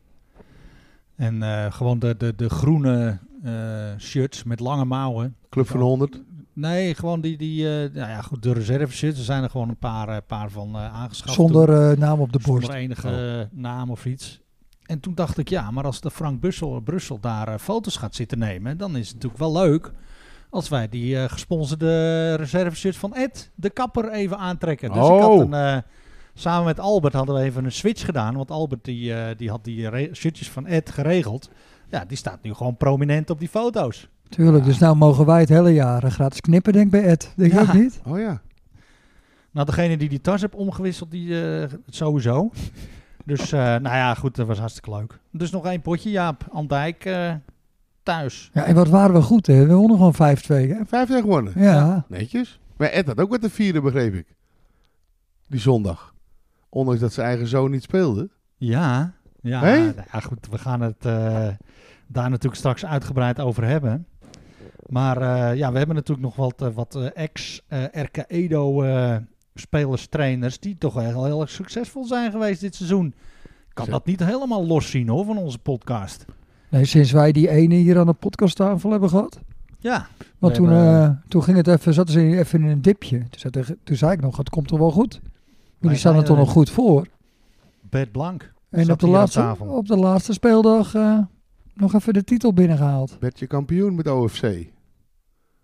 [SPEAKER 2] En eh, gewoon de, de, de groene eh, shirts met lange mouwen.
[SPEAKER 4] Club van 100.
[SPEAKER 2] Nee, gewoon die, die eh, nou ja, goed, de reserve shirts. Er zijn er gewoon een paar, eh, paar van eh aangeschaft.
[SPEAKER 1] Zonder eh, naam op de borst.
[SPEAKER 2] Zonder enige eh, naam of iets. En toen dacht ik, ja, maar als de Frank Bussel, Brussel daar eh, foto's gaat zitten nemen, dan is het natuurlijk wel leuk als wij die eh, gesponsorde reserveshirt van Ed, de kapper, even aantrekken. Dus ik had
[SPEAKER 4] Oh.
[SPEAKER 2] een, eh, samen met Albert hadden we even een switch gedaan, want Albert die, eh, die had die re- shirtjes van Ed geregeld. Ja, die staat nu gewoon prominent op die foto's.
[SPEAKER 1] Tuurlijk, dus nou mogen wij het hele jaar eh, gratis knippen, denk ik bij Ed. Denk je
[SPEAKER 2] Ja.
[SPEAKER 1] ook niet?
[SPEAKER 4] Oh ja.
[SPEAKER 2] Nou, degene die die tas heeft omgewisseld, die eh, sowieso. Dus, eh, nou ja, goed, dat was hartstikke leuk. Dus nog één potje, Jaap. Andijk eh, thuis.
[SPEAKER 1] Ja, en wat waren we goed, hè? We wonnen gewoon 5-2, hè?
[SPEAKER 4] Vijf tegen gewonnen.
[SPEAKER 1] Ja,
[SPEAKER 4] Netjes. Maar Ed had ook wat te vieren, begreep ik. Die zondag. Ondanks dat zijn eigen zoon niet speelde.
[SPEAKER 2] Ja, ja,
[SPEAKER 4] Hé?
[SPEAKER 2] nou ja goed, we gaan het eh, daar natuurlijk straks uitgebreid over hebben. Maar eh, ja, we hebben natuurlijk nog wat, eh, wat eh, ex-RK Edo eh, spelers, trainers, die toch wel heel erg succesvol zijn geweest dit seizoen. Ik Kan
[SPEAKER 4] Zo.
[SPEAKER 2] dat niet helemaal los zien hoor, van onze podcast.
[SPEAKER 1] Nee, sinds wij die ene hier aan de podcasttafel hebben gehad.
[SPEAKER 2] Ja,
[SPEAKER 1] Want
[SPEAKER 2] We
[SPEAKER 1] toen,
[SPEAKER 2] hebben-
[SPEAKER 1] eh, toen ging het even, zaten ze even in een dipje. Toen, zat er- toen zei ik nog, het komt toch wel goed. Jullie
[SPEAKER 2] Wij
[SPEAKER 1] staan er
[SPEAKER 2] zijn eh,
[SPEAKER 1] toch
[SPEAKER 2] er
[SPEAKER 1] nog goed voor.
[SPEAKER 2] Bert Blank.
[SPEAKER 1] En
[SPEAKER 2] zat
[SPEAKER 1] op de,
[SPEAKER 2] hier aan
[SPEAKER 1] laatste, Oh.
[SPEAKER 2] tafel.
[SPEAKER 1] op de laatste speeldag eh, nog even de titel binnengehaald.
[SPEAKER 4] Werd je kampioen met OFC.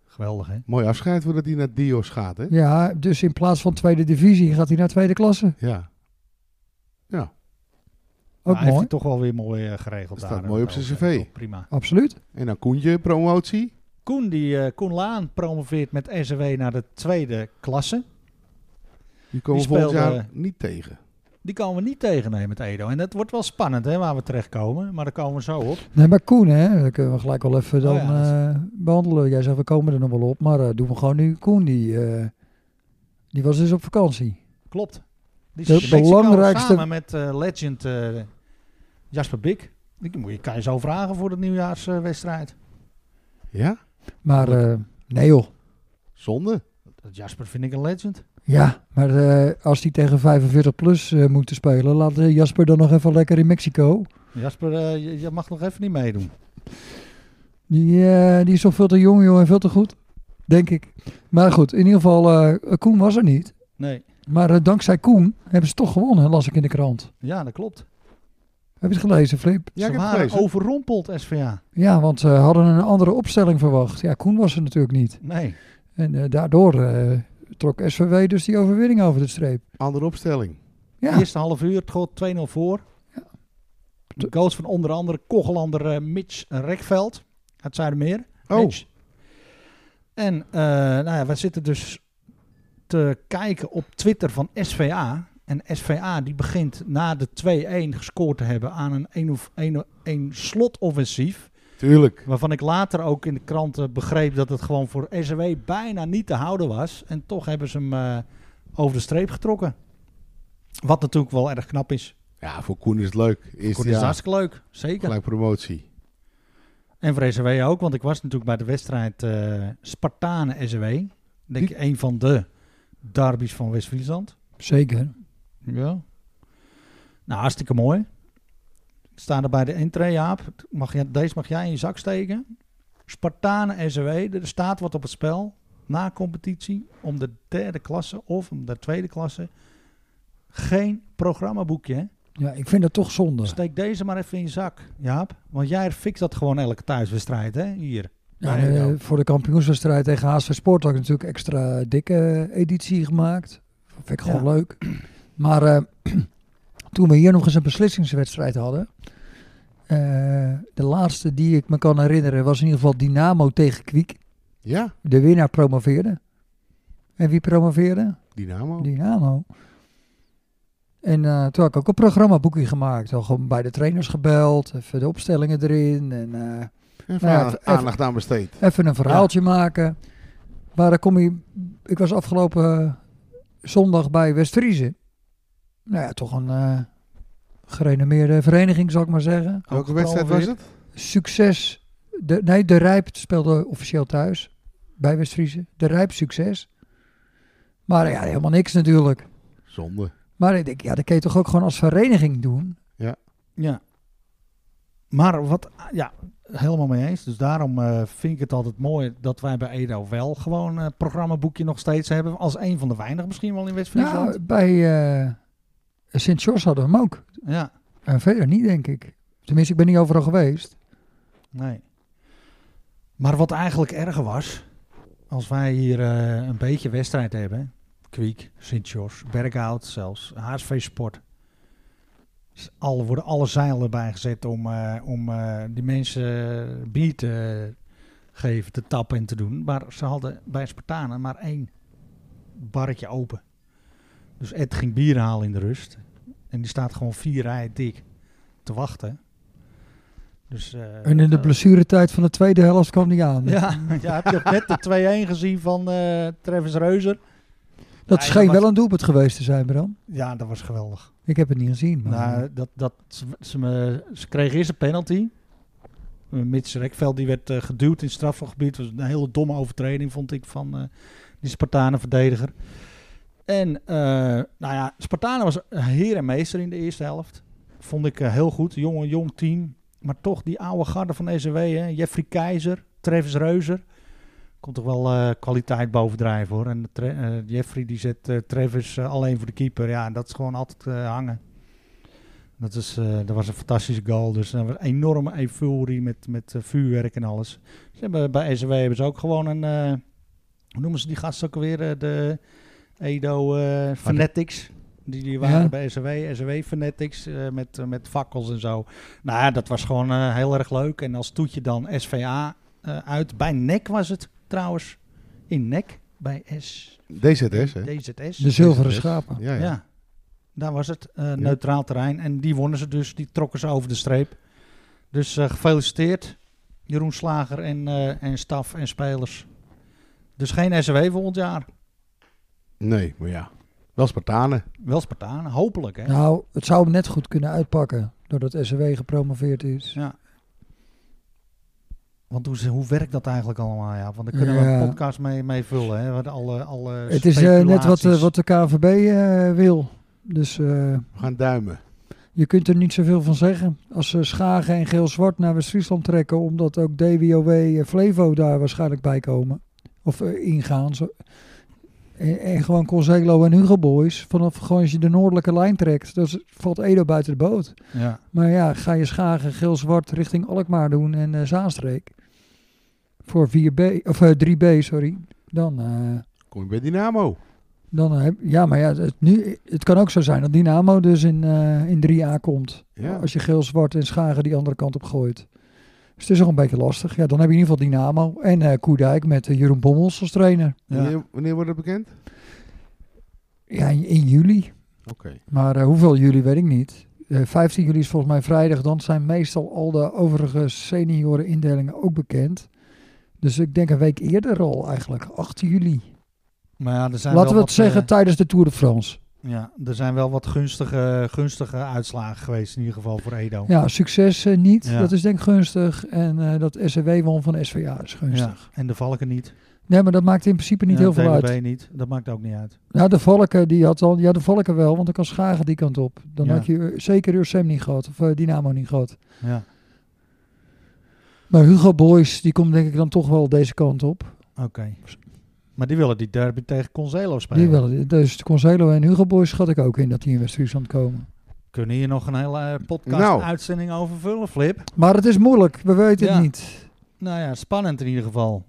[SPEAKER 2] Geweldig hè?
[SPEAKER 4] Mooi afscheid voordat hij naar Dios gaat, hè?
[SPEAKER 1] Ja, dus in plaats van tweede divisie gaat hij naar tweede klasse.
[SPEAKER 4] Ja.
[SPEAKER 1] Ook
[SPEAKER 2] Maar Nou, hij heeft
[SPEAKER 1] mooi.
[SPEAKER 2] het toch wel weer mooi eh, geregeld
[SPEAKER 4] Staat
[SPEAKER 2] daar.
[SPEAKER 4] mooi op zijn CV.
[SPEAKER 2] Oh, Prima.
[SPEAKER 1] Absoluut.
[SPEAKER 4] En dan Koentje, promotie.
[SPEAKER 2] Koen, die, eh, Koen Laan promoveert met SW naar de tweede klasse.
[SPEAKER 4] Die komen
[SPEAKER 2] Die
[SPEAKER 4] volgend
[SPEAKER 2] speelde-
[SPEAKER 4] jaar niet tegen.
[SPEAKER 2] Die komen we niet tegen nee, met Edo. En dat wordt wel spannend hè, waar we terechtkomen. Maar daar komen we zo op.
[SPEAKER 1] Nee, maar Koen, hè, dat kunnen we gelijk wel even dan
[SPEAKER 2] Oh ja,
[SPEAKER 1] eh, behandelen. Jij zegt, we komen er nog wel op, maar eh, doen we gewoon nu. Koen, die, eh, die was dus op vakantie.
[SPEAKER 2] Klopt. Die
[SPEAKER 1] De
[SPEAKER 2] zit in Mexico
[SPEAKER 1] belangrijkste-
[SPEAKER 2] samen met eh, legend eh, Jasper Bik. Die moet je, kan je zo vragen voor de nieuwjaarswedstrijd.
[SPEAKER 4] Ja?
[SPEAKER 1] Maar eh, nee joh,
[SPEAKER 4] Zonde.
[SPEAKER 2] Jasper vind ik een legend.
[SPEAKER 1] ja, maar eh, als die tegen 45 plus eh, moeten spelen, laat eh, Jasper dan nog even lekker in Mexico.
[SPEAKER 2] Jasper, eh, je, je mag nog even niet meedoen.
[SPEAKER 1] Die, eh, die is toch veel te jong joh en veel te goed, denk ik. Maar goed, in ieder geval, eh, Koen was er niet.
[SPEAKER 2] Nee.
[SPEAKER 1] Maar eh, dankzij Koen hebben ze toch gewonnen, las ik in de krant.
[SPEAKER 2] Ja, dat klopt.
[SPEAKER 1] Heb je het gelezen, Flip?
[SPEAKER 4] Ja, ik
[SPEAKER 2] Ze
[SPEAKER 4] heb het
[SPEAKER 2] waren
[SPEAKER 4] gelezen.
[SPEAKER 2] overrompeld, SVA.
[SPEAKER 1] Ja, want ze hadden een andere opstelling verwacht. Ja, Koen was er natuurlijk niet.
[SPEAKER 2] Nee.
[SPEAKER 1] En eh, daardoor eh, trok SVW dus die overwinning over de streep.
[SPEAKER 4] Andere opstelling.
[SPEAKER 1] Ja,
[SPEAKER 2] Eerste half uur, het gold 2-0 voor.
[SPEAKER 1] Ja.
[SPEAKER 2] De goals van onder andere Kogelander eh, Mitch Rekveld uit Zuidermeer.
[SPEAKER 4] Oh.
[SPEAKER 2] Mitch. En eh nou ja, we zitten dus te kijken op Twitter van SVA. En SVA die begint na de 2-1 gescoord te hebben aan een 1 of 1 1 slotoffensief.
[SPEAKER 4] Tuurlijk.
[SPEAKER 2] Waarvan ik later ook in de kranten begreep dat het gewoon voor SW bijna niet te houden was. En toch hebben ze hem eh, over de streep getrokken. Wat natuurlijk wel erg knap is.
[SPEAKER 4] Ja, voor Koen is het leuk. Eerste
[SPEAKER 2] Kort is het
[SPEAKER 4] jaar.
[SPEAKER 2] hartstikke leuk, zeker.
[SPEAKER 4] Gelijk promotie.
[SPEAKER 2] En voor SW ook, want ik was natuurlijk bij de wedstrijd eh Spartanen-SW. Denk ik een van de derbies van West-Friesland.
[SPEAKER 1] zeker.
[SPEAKER 2] Ja. Nou, hartstikke mooi. Staan er bij de entree, Jaap. Mag je, deze mag jij in je zak steken. Spartanen SW, er staat wat op het spel. Na competitie, om de derde klasse of om de tweede klasse. Geen programmaboekje, hè?
[SPEAKER 1] Ja, ik vind dat toch zonde.
[SPEAKER 2] Steek deze maar even in je zak, Jaap. Want jij fixt dat gewoon elke thuiswedstrijd, hè? Hier.
[SPEAKER 1] Ja,
[SPEAKER 2] Bij
[SPEAKER 1] eh,
[SPEAKER 2] jou.
[SPEAKER 1] voor de kampioenswedstrijd tegen HSV Sport had ik natuurlijk extra dikke eh, editie gemaakt. Vind ik gewoon
[SPEAKER 2] Ja.
[SPEAKER 1] leuk. Maar eh, toen we hier nog eens een beslissingswedstrijd hadden. eh, de laatste die ik me kan herinneren was in ieder geval Dynamo tegen Kwiek.
[SPEAKER 4] Ja,
[SPEAKER 1] De winnaar promoveerde. En wie promoveerde?
[SPEAKER 4] Dynamo.
[SPEAKER 1] Dynamo. En eh, toen had ik ook een programmaboekje gemaakt. Al gewoon bij de trainers gebeld. Even de opstellingen erin. En eh,
[SPEAKER 4] Even
[SPEAKER 1] Nou ja,
[SPEAKER 4] aandacht-
[SPEAKER 1] even-
[SPEAKER 4] aandacht aan besteed.
[SPEAKER 1] even een verhaaltje maken. Maar dan kom je... Ik was afgelopen eh, zondag bij West-Friese. Nou ja, toch een eh, gerenommeerde vereniging, zal ik maar zeggen.
[SPEAKER 4] Welke wedstrijd was het?
[SPEAKER 1] Succes. De, nee, De Rijp speelde officieel thuis. Bij West-Friese. De Rijp succes. Maar ja, helemaal niks natuurlijk.
[SPEAKER 4] Zonde.
[SPEAKER 1] Maar ik denk, ja, dat kun je toch ook gewoon als vereniging doen?
[SPEAKER 2] Ja. Maar wat, ja, helemaal mee eens. Dus daarom eh, vind ik het altijd mooi dat wij bij Edo wel gewoon een programmaboekje nog steeds hebben. Als een van de weinigen misschien wel in West-Friesland.
[SPEAKER 1] Nou, bij eh, Sint-George hadden we hem ook.
[SPEAKER 2] ja,
[SPEAKER 1] En verder niet, denk ik. Tenminste, ik ben niet overal geweest.
[SPEAKER 2] nee. Maar wat eigenlijk erger was, als wij hier eh, een beetje wedstrijd hebben. Kwiek, Sint-Jos, Berghout zelfs, HSV Sport. Dus Alle, worden alle zeilen erbij gezet om, eh, om eh, die mensen eh, bier te geven, te tappen en te doen. Maar ze hadden bij Spartanen maar één barretje open. Dus Ed ging bier halen in de rust. En die staat gewoon vier rijen dik te wachten. Dus, eh,
[SPEAKER 1] En in de
[SPEAKER 2] eh,
[SPEAKER 1] blessuretijd van de tweede helft kwam hij aan.
[SPEAKER 2] ja, ja, heb je ook net de 2-1 gezien van eh Travis Reuser?
[SPEAKER 1] dat
[SPEAKER 2] Ja,
[SPEAKER 1] scheen
[SPEAKER 2] dat was-
[SPEAKER 1] wel een doelpunt geweest te zijn, Bram.
[SPEAKER 2] Ja, dat was geweldig.
[SPEAKER 1] Ik heb het niet gezien. Maar eh,
[SPEAKER 2] Nou, dat, dat, ze, ze, me- ze kregen eerst een penalty. Uh, Mits Rekveld die werd eh, geduwd in het strafgebied. was een hele domme overtreding, vond ik, van eh, die Spartanen-verdediger. En eh, nou ja, Spartanen was heer en meester in de eerste helft. Vond ik eh, heel goed. Jong, jong team. Maar toch die oude garde van SW. Hè? Jeffrey Keizer, Travis Reuzer. Komt toch wel eh, kwaliteit bovendrijven hoor. En Tre- eh, Jeffrey die zet eh, Travis eh, alleen voor de keeper. Ja, dat is gewoon altijd eh, hangen. Dat, is, eh, dat was een fantastische goal. Dus er was een enorme euforie met, met eh, vuurwerk en alles. Ze hebben, bij SW hebben ze ook gewoon een... eh, hoe noemen ze die gast ook alweer? eh, de Edo eh Fanatics. Die, die waren
[SPEAKER 1] Ja.
[SPEAKER 2] bij SW. SW Fanatics eh, met, eh, met fakkels en zo. Nou ja, dat was gewoon eh, heel erg leuk. En als toetje dan SVA eh, uit. Bij NEC was het trouwens. In NEC. Bij S.
[SPEAKER 4] DZS, hè?
[SPEAKER 2] DZS.
[SPEAKER 1] De zilveren
[SPEAKER 4] DZS.
[SPEAKER 1] schapen.
[SPEAKER 4] Ja, ja.
[SPEAKER 2] Ja. daar was het. eh, neutraal terrein. En die wonnen ze dus. Die trokken ze over de streep. Dus eh, gefeliciteerd, Jeroen Slager en, eh, en staf en spelers. Dus geen SW volgend jaar.
[SPEAKER 4] Nee, maar ja. Wel Spartanen.
[SPEAKER 2] Wel Spartanen, hopelijk hè.
[SPEAKER 1] Nou, het zou hem net goed kunnen uitpakken. Doordat SW gepromoveerd is.
[SPEAKER 2] Ja. Want hoe, ze- hoe werkt dat eigenlijk allemaal? Ja? Want daar kunnen we
[SPEAKER 1] Ja.
[SPEAKER 2] een podcast mee, mee vullen. Hè? Wat Alle, alle
[SPEAKER 1] het is eh, net wat, de-
[SPEAKER 2] speculaties.
[SPEAKER 1] wat de KNVB eh, wil. Dus eh,
[SPEAKER 4] We gaan duimen.
[SPEAKER 1] je kunt er niet zoveel van zeggen. Als ze Schagen en Geel-Zwart naar West-Friesland trekken... omdat ook DWOW en eh, Flevo daar waarschijnlijk bij komen. Of eh, ingaan. Zo. En, en gewoon Conzelo en Hugo Boys. Vanaf gewoon als je de noordelijke lijn trekt... dan is- valt Edo buiten de boot.
[SPEAKER 2] Ja.
[SPEAKER 1] Maar ja, ga je Schagen, Geel-Zwart richting Alkmaar doen en eh, Zaanstreek. Voor 4B, of eh, 3B, sorry. Dan, eh,
[SPEAKER 4] Kom je bij Dynamo.
[SPEAKER 1] dan heb, ja, maar ja, het, nu, het kan ook zo zijn dat Dynamo dus in, eh, in 3A komt.
[SPEAKER 4] Ja.
[SPEAKER 1] Oh, Als je Geel-Zwart en Schagen die andere kant op gooit. Dus het is nog een beetje lastig. Ja, dan heb je in ieder geval Dynamo en eh Koedijk met eh, Jeroen Bommels als trainer.
[SPEAKER 2] Ja.
[SPEAKER 4] Wanneer, wanneer wordt dat bekend?
[SPEAKER 1] Ja, in, in juli.
[SPEAKER 4] Oké.
[SPEAKER 1] Maar eh, hoeveel juli weet ik niet. Eh 15 juli is volgens mij vrijdag. Dan zijn meestal al de overige seniorenindelingen ook bekend. Dus ik denk een week eerder al eigenlijk. 8 juli.
[SPEAKER 2] Maar ja, er zijn
[SPEAKER 1] Laten
[SPEAKER 2] wel
[SPEAKER 1] we het
[SPEAKER 2] wat,
[SPEAKER 1] zeggen
[SPEAKER 2] eh,
[SPEAKER 1] tijdens de Tour de France.
[SPEAKER 2] ja, er zijn wel wat gunstige, gunstige uitslagen geweest in ieder geval voor Edo.
[SPEAKER 1] Ja, succes eh, niet.
[SPEAKER 2] Ja.
[SPEAKER 1] Dat is denk ik gunstig. En eh, dat SW won van SVA is gunstig.
[SPEAKER 2] Ja, En de Valken niet.
[SPEAKER 1] Nee, maar dat maakt in principe niet
[SPEAKER 2] Ja,
[SPEAKER 1] heel veel
[SPEAKER 2] TDB
[SPEAKER 1] uit.
[SPEAKER 2] niet. Dat maakt ook niet uit.
[SPEAKER 1] Nou, de Valken die had al. Ja, de Valken wel, want dan kan Schagen die kant op. Dan
[SPEAKER 2] Ja.
[SPEAKER 1] had je eh, zeker Ursem niet gehad. Of eh, Dynamo niet gehad.
[SPEAKER 2] Ja.
[SPEAKER 1] Maar Hugo Boys, die komt denk ik dan toch wel deze kant op.
[SPEAKER 2] Oké. Maar die willen die derby tegen Conzelo spelen.
[SPEAKER 1] Die willen, dus Concelo en Hugo Boys schat ik ook in dat die in West-Friesland komen.
[SPEAKER 2] Kunnen hier nog een hele
[SPEAKER 4] Nou.
[SPEAKER 2] podcast-uitzending over vullen, Flip?
[SPEAKER 1] Maar het is moeilijk, we weten
[SPEAKER 2] Ja.
[SPEAKER 1] het niet.
[SPEAKER 2] Nou ja, spannend in ieder geval.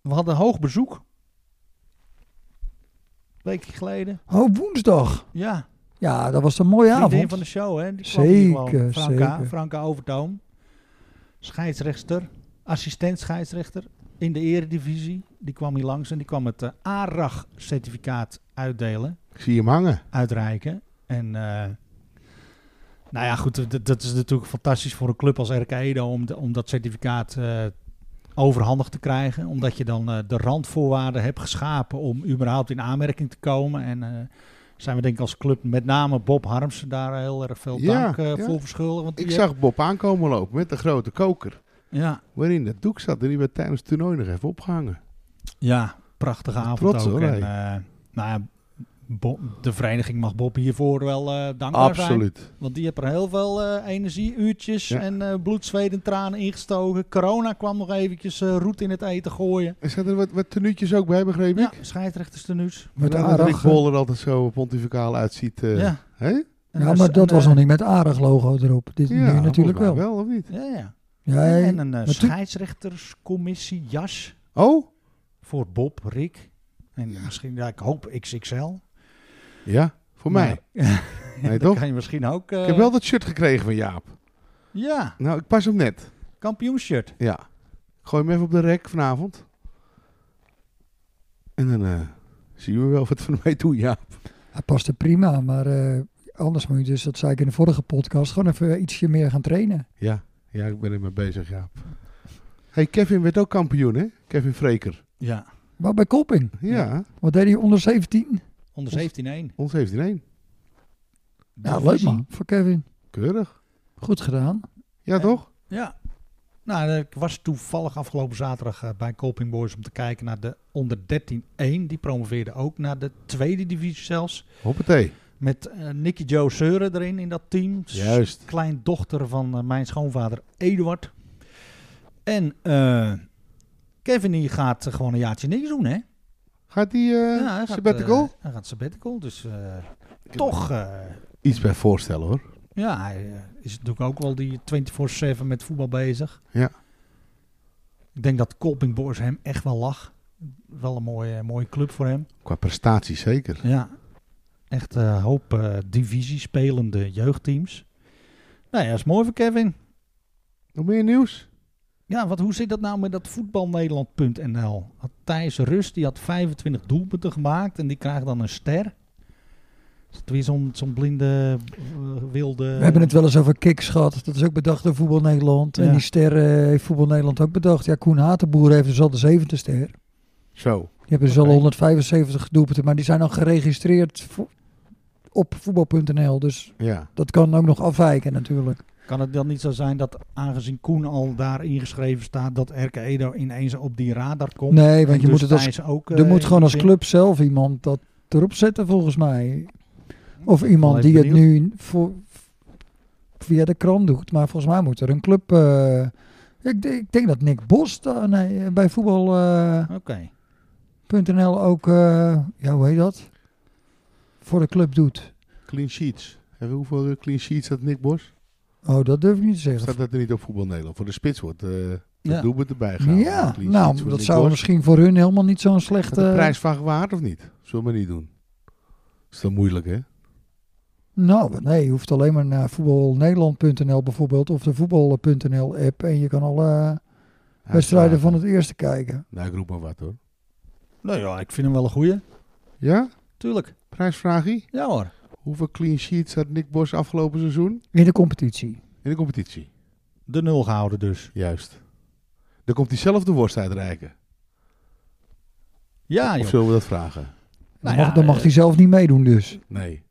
[SPEAKER 2] We hadden hoog bezoek. Een weekje geleden.
[SPEAKER 1] Oh, woensdag.
[SPEAKER 2] Ja,
[SPEAKER 1] Ja, dat was een mooie
[SPEAKER 2] vriendin
[SPEAKER 1] avond.
[SPEAKER 2] van de show, hè? Die kwam hier gewoon.
[SPEAKER 1] Zeker,
[SPEAKER 2] Franka,
[SPEAKER 1] zeker.
[SPEAKER 2] Franka Overtoom. Scheidsrechter, assistent scheidsrechter in de eredivisie. Die kwam hier langs en die kwam het eh, ARAG-certificaat uitdelen.
[SPEAKER 4] Ik zie hem hangen.
[SPEAKER 2] uitreiken. En eh, nou ja, goed, dat, dat is natuurlijk fantastisch voor een club als RK Edo om, de- om dat certificaat eh overhandig te krijgen. Omdat je dan eh, de randvoorwaarden hebt geschapen om überhaupt in aanmerking te komen. En eh, zijn we denk ik als club, met name Bob Harmsen, daar heel erg veel
[SPEAKER 4] Ja,
[SPEAKER 2] dank eh,
[SPEAKER 4] ja.
[SPEAKER 2] voor verschuldigd. Want
[SPEAKER 4] Ik
[SPEAKER 2] die
[SPEAKER 4] zag Bob aankomen lopen met de grote koker.
[SPEAKER 2] heeft- Ja,
[SPEAKER 4] Waarin dat doek zat. En die werd tijdens het toernooi nog even opgehangen.
[SPEAKER 2] ja, prachtige avond
[SPEAKER 4] trots,
[SPEAKER 2] ook.
[SPEAKER 4] hoor,
[SPEAKER 2] en,
[SPEAKER 4] hij.
[SPEAKER 2] eh, nou ja, Bob- de vereniging mag Bob hiervoor wel eh dankbaar zijn.
[SPEAKER 4] Absoluut.
[SPEAKER 2] Want die hebben er heel veel eh, energie, uurtjes
[SPEAKER 4] Ja.
[SPEAKER 2] en eh bloed, zweet en tranen ingestoken. Corona kwam nog eventjes eh roet in het eten gooien.
[SPEAKER 4] Er zaten wat, wat tenuutjes ook bij, begreep ik?
[SPEAKER 2] Ja, scheidsrechters tenues.
[SPEAKER 1] Met
[SPEAKER 4] Vandaar dat Rick
[SPEAKER 1] Arag.
[SPEAKER 4] Bol er altijd zo pontificaal uitziet. eh,
[SPEAKER 2] Ja.
[SPEAKER 4] hè?
[SPEAKER 2] En
[SPEAKER 1] Ja,
[SPEAKER 2] dus
[SPEAKER 1] maar
[SPEAKER 2] een,
[SPEAKER 1] dat was
[SPEAKER 2] eh,
[SPEAKER 1] nog niet met Arag logo erop. Dit
[SPEAKER 4] Ja,
[SPEAKER 1] nu natuurlijk wel.
[SPEAKER 4] volgens mij of niet?
[SPEAKER 2] eh, Ja, ja.
[SPEAKER 1] Ja,
[SPEAKER 2] En-
[SPEAKER 1] ja,
[SPEAKER 2] En een eh,
[SPEAKER 1] tu-
[SPEAKER 2] scheidsrechterscommissie jas
[SPEAKER 4] Oh?
[SPEAKER 2] voor Bob, Rick en eh, misschien, ja, ik hoop XXL.
[SPEAKER 4] Ja, voor mij.
[SPEAKER 2] Maar-
[SPEAKER 4] Nee,
[SPEAKER 2] dat
[SPEAKER 4] toch?
[SPEAKER 2] kan je misschien ook. eh,
[SPEAKER 4] Ik heb wel dat shirt gekregen van Jaap.
[SPEAKER 2] Ja,
[SPEAKER 4] Nou, ik pas hem net.
[SPEAKER 2] kampioenshirt.
[SPEAKER 4] Ja. Gooi hem even op de rek vanavond. En dan eh, zien we wel wat we ermee doen, Jaap.
[SPEAKER 1] Hij past er prima, maar eh, anders moet je dus, dat zei ik in de vorige podcast, gewoon even ietsje meer gaan trainen.
[SPEAKER 4] Ja, ja ik ben ermee bezig, Jaap. hey, Kevin werd ook kampioen, hè? Kevin Freker.
[SPEAKER 2] Ja,
[SPEAKER 1] Maar bij Kopping,
[SPEAKER 4] Ja,
[SPEAKER 2] Ja.
[SPEAKER 1] wat deed hij onder 17?
[SPEAKER 2] onder 17-1.
[SPEAKER 4] ons heeft hij één.
[SPEAKER 1] Ja, leuk man, voor Kevin.
[SPEAKER 4] Keurig.
[SPEAKER 1] Goed gedaan.
[SPEAKER 4] Ja,
[SPEAKER 2] En-
[SPEAKER 4] toch?
[SPEAKER 2] Ja. Nou, ik was toevallig afgelopen zaterdag eh, bij Colping Boys om te kijken naar de onder 13-1. Die promoveerde ook naar de tweede divisie zelfs.
[SPEAKER 4] Hoppatee.
[SPEAKER 2] Met eh, Nicky Joe Seuren erin in dat team.
[SPEAKER 4] Juist.
[SPEAKER 2] Kleindochter van eh, mijn schoonvader Eduard. En eh, Kevin die gaat eh, gewoon een jaartje niks doen, hè?
[SPEAKER 4] Gaat die eh
[SPEAKER 2] Ja, hij gaat,
[SPEAKER 4] sabbatical?
[SPEAKER 2] eh, hij gaat sabbatical, dus eh, toch... eh,
[SPEAKER 4] Iets bij voorstellen hoor.
[SPEAKER 2] ja, hij eh, is natuurlijk ook wel die 24-7 met voetbal bezig.
[SPEAKER 4] Ja.
[SPEAKER 2] Ik denk dat Colping Boys hem echt wel lag. Wel een mooie, mooie club voor hem.
[SPEAKER 4] Qua prestatie zeker.
[SPEAKER 2] Ja. Echt een hoop eh, divisie spelende jeugdteams. Nou ja, is mooi voor Kevin.
[SPEAKER 4] Nog meer nieuws?
[SPEAKER 2] Ja, want hoe zit dat nou met dat voetbalnederland.nl? Had Thijs Rust, die had 25 doelpunten gemaakt en die krijgt dan een ster. Is het weer zo'n zo'n blinde, eh, wilde...
[SPEAKER 1] We hebben het wel eens over kicks gehad. Dat is ook bedacht door Voetbal Nederland.
[SPEAKER 2] Ja.
[SPEAKER 1] En die ster eh, heeft Voetbal Nederland ook bedacht. Ja, Koen Hatenboer heeft dus al de zevende ster.
[SPEAKER 4] Zo.
[SPEAKER 1] Die hebben dus
[SPEAKER 2] Oké.
[SPEAKER 1] al 175 doelpunten, maar die zijn al geregistreerd vo- op voetbal.nl. Dus
[SPEAKER 4] Ja.
[SPEAKER 1] dat kan ook nog afwijken natuurlijk.
[SPEAKER 2] Kan het dan niet zo zijn dat aangezien Koen al daar ingeschreven staat, dat RK Edo ineens op die radar komt?
[SPEAKER 1] Nee, want
[SPEAKER 2] En
[SPEAKER 1] je
[SPEAKER 2] dus
[SPEAKER 1] moet het als,
[SPEAKER 2] Thijs ook,
[SPEAKER 1] er
[SPEAKER 2] eh,
[SPEAKER 1] moet gewoon als
[SPEAKER 2] in-
[SPEAKER 1] club zelf iemand dat erop zetten volgens mij. Of iemand
[SPEAKER 2] even
[SPEAKER 1] die het
[SPEAKER 2] benieuwd.
[SPEAKER 1] nu voor, via de krant doet. Maar volgens mij moet er een club... eh, ik, denk- ik denk dat Nick Bos daar- nee, eh, bij eh, voetbal.nl
[SPEAKER 2] Oké.
[SPEAKER 1] ook, eh, ja hoe heet dat? Voor de club doet.
[SPEAKER 4] Clean sheets. Hebben we hoeveel eh, clean sheets had Nick Bos?
[SPEAKER 1] Oh, dat durf ik niet te zeggen.
[SPEAKER 4] Staat dat er niet op voetbal Nederland? Voor de spits wordt eh de
[SPEAKER 2] Ja.
[SPEAKER 4] doelpunt erbij gehaald.
[SPEAKER 1] Ja,
[SPEAKER 4] Clean sheets
[SPEAKER 1] nou,
[SPEAKER 4] voor
[SPEAKER 1] dat
[SPEAKER 4] Nick
[SPEAKER 1] zou
[SPEAKER 4] Bos.
[SPEAKER 1] misschien voor hun helemaal niet zo'n
[SPEAKER 4] Gaat
[SPEAKER 2] eh,
[SPEAKER 1] slechte...
[SPEAKER 4] de prijsvraag waard of niet? Zullen we maar niet doen. Is dat moeilijk hè?
[SPEAKER 1] Nou, nee, je hoeft alleen maar naar voetbalnederland.nl bijvoorbeeld of de voetbal.nl app en je kan alle wedstrijden van het eerste kijken.
[SPEAKER 4] Nou, ik roep maar wat hoor.
[SPEAKER 2] Nou ja, ik vind hem wel een goeie.
[SPEAKER 4] Ja?
[SPEAKER 2] Tuurlijk.
[SPEAKER 4] Prijsvraagie?
[SPEAKER 2] Ja hoor.
[SPEAKER 4] Hoeveel clean sheets had Nick Bos afgelopen seizoen?
[SPEAKER 1] In de competitie.
[SPEAKER 4] In de competitie.
[SPEAKER 2] De nul gehouden dus.
[SPEAKER 4] Juist. Dan komt hij zelf de worst uitreiken.
[SPEAKER 2] Ja
[SPEAKER 4] of
[SPEAKER 2] joh.
[SPEAKER 4] zullen we dat vragen?
[SPEAKER 1] Dan
[SPEAKER 2] Nou
[SPEAKER 1] mag,
[SPEAKER 2] ja,
[SPEAKER 1] dan mag
[SPEAKER 2] eh,
[SPEAKER 1] hij zelf niet meedoen dus.
[SPEAKER 4] Nee.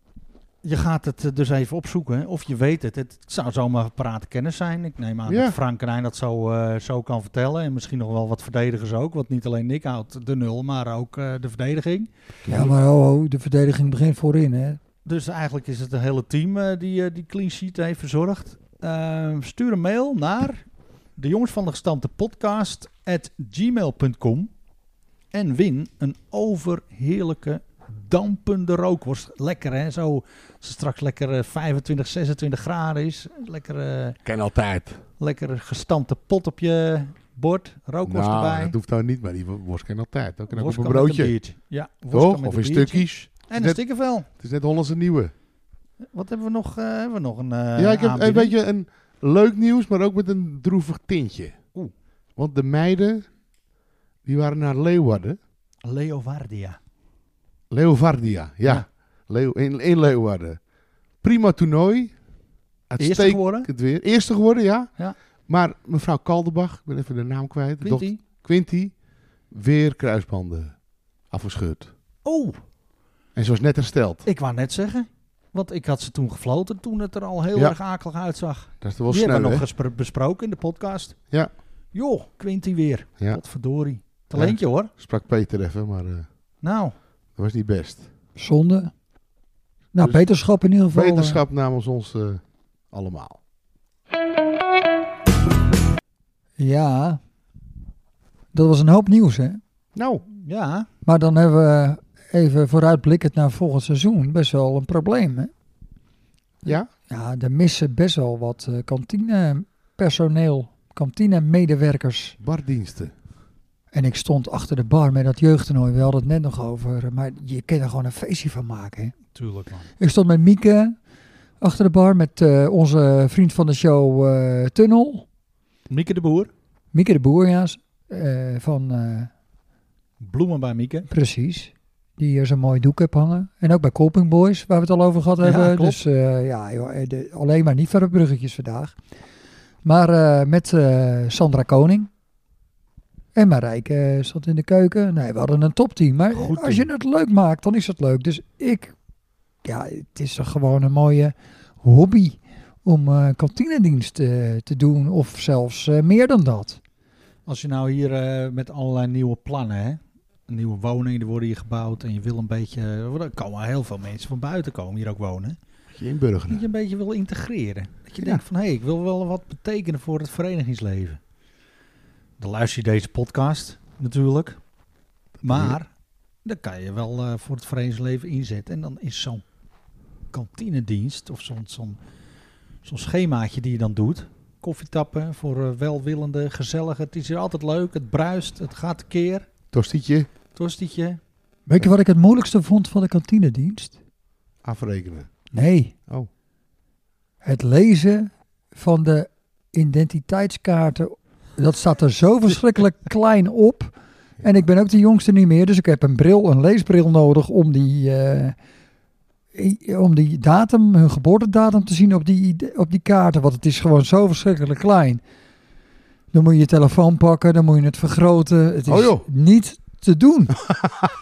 [SPEAKER 2] Je gaat het eh, dus even opzoeken. hè. Of je weet het. Het zou zomaar praten kennis zijn. Ik neem aan
[SPEAKER 4] Ja.
[SPEAKER 2] dat Frank Rijn dat zo, eh, zo kan vertellen. En misschien nog wel wat verdedigers ook. Want niet alleen Nick houdt de nul, maar ook eh, de verdediging.
[SPEAKER 1] Ja, maar ho, ho, de verdediging begint voorin hè.
[SPEAKER 2] Dus eigenlijk is het een hele team eh, die eh, die clean sheet heeft verzorgd. Eh, stuur een mail naar de jongens van de gestampte podcast at gmail.com en win een overheerlijke dampende rookworst. Lekker hè, zo als het straks lekker eh, 25, 26 graden is. Lekker, eh,
[SPEAKER 4] Ken altijd.
[SPEAKER 2] lekker gestampte pot op je bord, rookworst
[SPEAKER 4] nou,
[SPEAKER 2] erbij.
[SPEAKER 4] dat hoeft nou niet, maar die worst ken altijd. Dan kan ook op
[SPEAKER 2] Worst
[SPEAKER 4] een
[SPEAKER 2] kan met
[SPEAKER 4] broodje.
[SPEAKER 2] biertje. Ja, worst kan
[SPEAKER 4] Toch?
[SPEAKER 2] met
[SPEAKER 4] Of
[SPEAKER 2] een
[SPEAKER 4] in
[SPEAKER 2] biertje.
[SPEAKER 4] stukjes.
[SPEAKER 2] En een
[SPEAKER 4] Net-
[SPEAKER 2] stikkenvel.
[SPEAKER 4] Het is net Hollandse nieuwe.
[SPEAKER 2] Wat hebben we nog? eh, hebben we nog een eh,
[SPEAKER 4] ja, ik heb een
[SPEAKER 2] aanbieding?
[SPEAKER 4] beetje een leuk nieuws, maar ook met een droevig tintje.
[SPEAKER 2] Oeh.
[SPEAKER 4] Want de meiden, die waren naar Leeuwarden.
[SPEAKER 2] Leovardia.
[SPEAKER 4] Leeuwardia, ja.
[SPEAKER 2] Ja.
[SPEAKER 4] Leeuw, in, in Leeuwarden. Prima toernooi.
[SPEAKER 2] Eerste
[SPEAKER 4] Uitstekend
[SPEAKER 2] geworden.
[SPEAKER 4] weer. Eerste geworden, ja.
[SPEAKER 2] Ja.
[SPEAKER 4] Maar mevrouw Kaldebach, ik ben even de naam kwijt. de dochter-
[SPEAKER 2] Quinty.
[SPEAKER 4] Quinty, weer kruisbanden afgescheurd.
[SPEAKER 2] Oh,
[SPEAKER 4] En ze was net hersteld.
[SPEAKER 2] ik wou net zeggen. Want ik had ze toen gefloten toen het er al heel
[SPEAKER 4] Ja.
[SPEAKER 2] erg akelig uitzag.
[SPEAKER 4] Dat is toch wel
[SPEAKER 2] Die hebben we
[SPEAKER 4] snel,
[SPEAKER 2] nog
[SPEAKER 4] hè?
[SPEAKER 2] gespro- besproken in de podcast.
[SPEAKER 4] Ja.
[SPEAKER 2] Joh, Quinty weer.
[SPEAKER 4] Ja.
[SPEAKER 2] Potverdorie. Talentje hoor.
[SPEAKER 4] Sprak Peter even, maar eh,
[SPEAKER 2] Nou,
[SPEAKER 4] dat was niet best.
[SPEAKER 1] Zonde. Nou,
[SPEAKER 4] Dus-
[SPEAKER 1] beterschap in ieder geval. eh.
[SPEAKER 4] Wetenschap namens ons eh, allemaal.
[SPEAKER 1] eh, Ja. Dat was een hoop nieuws hè.
[SPEAKER 4] Nou,
[SPEAKER 2] ja.
[SPEAKER 1] Maar dan hebben we even vooruitblikkend naar volgend seizoen best wel een probleem hè.
[SPEAKER 4] ja?
[SPEAKER 1] Ja, er missen best wel wat eh, kantinepersoneel, kantinemedewerkers.
[SPEAKER 4] Bardiensten.
[SPEAKER 1] En ik stond achter de bar met dat jeugdtoernooi. We hadden het net nog over, maar je kan er gewoon een feestje van maken. Hè?
[SPEAKER 2] Tuurlijk man.
[SPEAKER 1] Ik stond met Mieke achter de bar met eh, onze vriend van de show eh, Tunnel.
[SPEAKER 2] Mieke de Boer.
[SPEAKER 1] Mieke de Boer, ja. s- eh, van, eh,
[SPEAKER 2] Bloemen bij Mieke.
[SPEAKER 1] precies. Die hier zo'n mooi doek heb hangen. En ook bij Colping Boys, waar we het al over gehad
[SPEAKER 2] Ja,
[SPEAKER 1] hebben.
[SPEAKER 2] klopt.
[SPEAKER 1] Dus eh, ja, joh, eh, de- alleen maar niet verre bruggetjes vandaag. Maar eh, met eh, Sandra Koning. En Marijke eh, zat in de keuken. Nee, we hadden een topteam. Maar
[SPEAKER 2] Goed
[SPEAKER 1] als
[SPEAKER 2] team.
[SPEAKER 1] je het leuk maakt, dan is het leuk. Dus ik, ja, het is toch gewoon een mooie hobby om eh, kantinedienst eh, te doen of zelfs eh, meer dan dat.
[SPEAKER 2] Als je nou hier eh, met allerlei nieuwe plannen, hè? nieuwe woningen die worden hier gebouwd en je wil een beetje, eh, er komen heel veel mensen van buiten komen hier ook wonen.
[SPEAKER 4] Je inburgeren.
[SPEAKER 2] Dat je een beetje wil integreren. Dat je
[SPEAKER 4] Ja.
[SPEAKER 2] denkt van hé, hey, ik wil wel wat betekenen voor het verenigingsleven. Dan luister je deze podcast natuurlijk, maar dan kan je wel eh, voor het verenigingsleven inzetten. En dan is zo'n kantinedienst of zo'n zo'n zo'n schemaatje die je dan doet, koffietappen voor eh, welwillenden, gezellig. Het is hier altijd leuk, het bruist, het gaat keer.
[SPEAKER 4] Tostietje,
[SPEAKER 2] Tostietje.
[SPEAKER 1] Weet je wat ik het moeilijkste vond van de kantinedienst?
[SPEAKER 4] afrekenen.
[SPEAKER 1] Nee,
[SPEAKER 4] Oh,
[SPEAKER 1] het lezen van de identiteitskaarten. Dat staat er zo verschrikkelijk klein op. En ik ben ook de jongste niet meer, dus ik heb een bril, een leesbril nodig om die, eh, i- om die datum, hun geboortedatum te zien op die, ide- op die kaarten. Want het is gewoon zo verschrikkelijk klein. Dan moet je je telefoon pakken, dan moet je het vergroten. Het is
[SPEAKER 4] Oh joh.
[SPEAKER 1] niet te doen.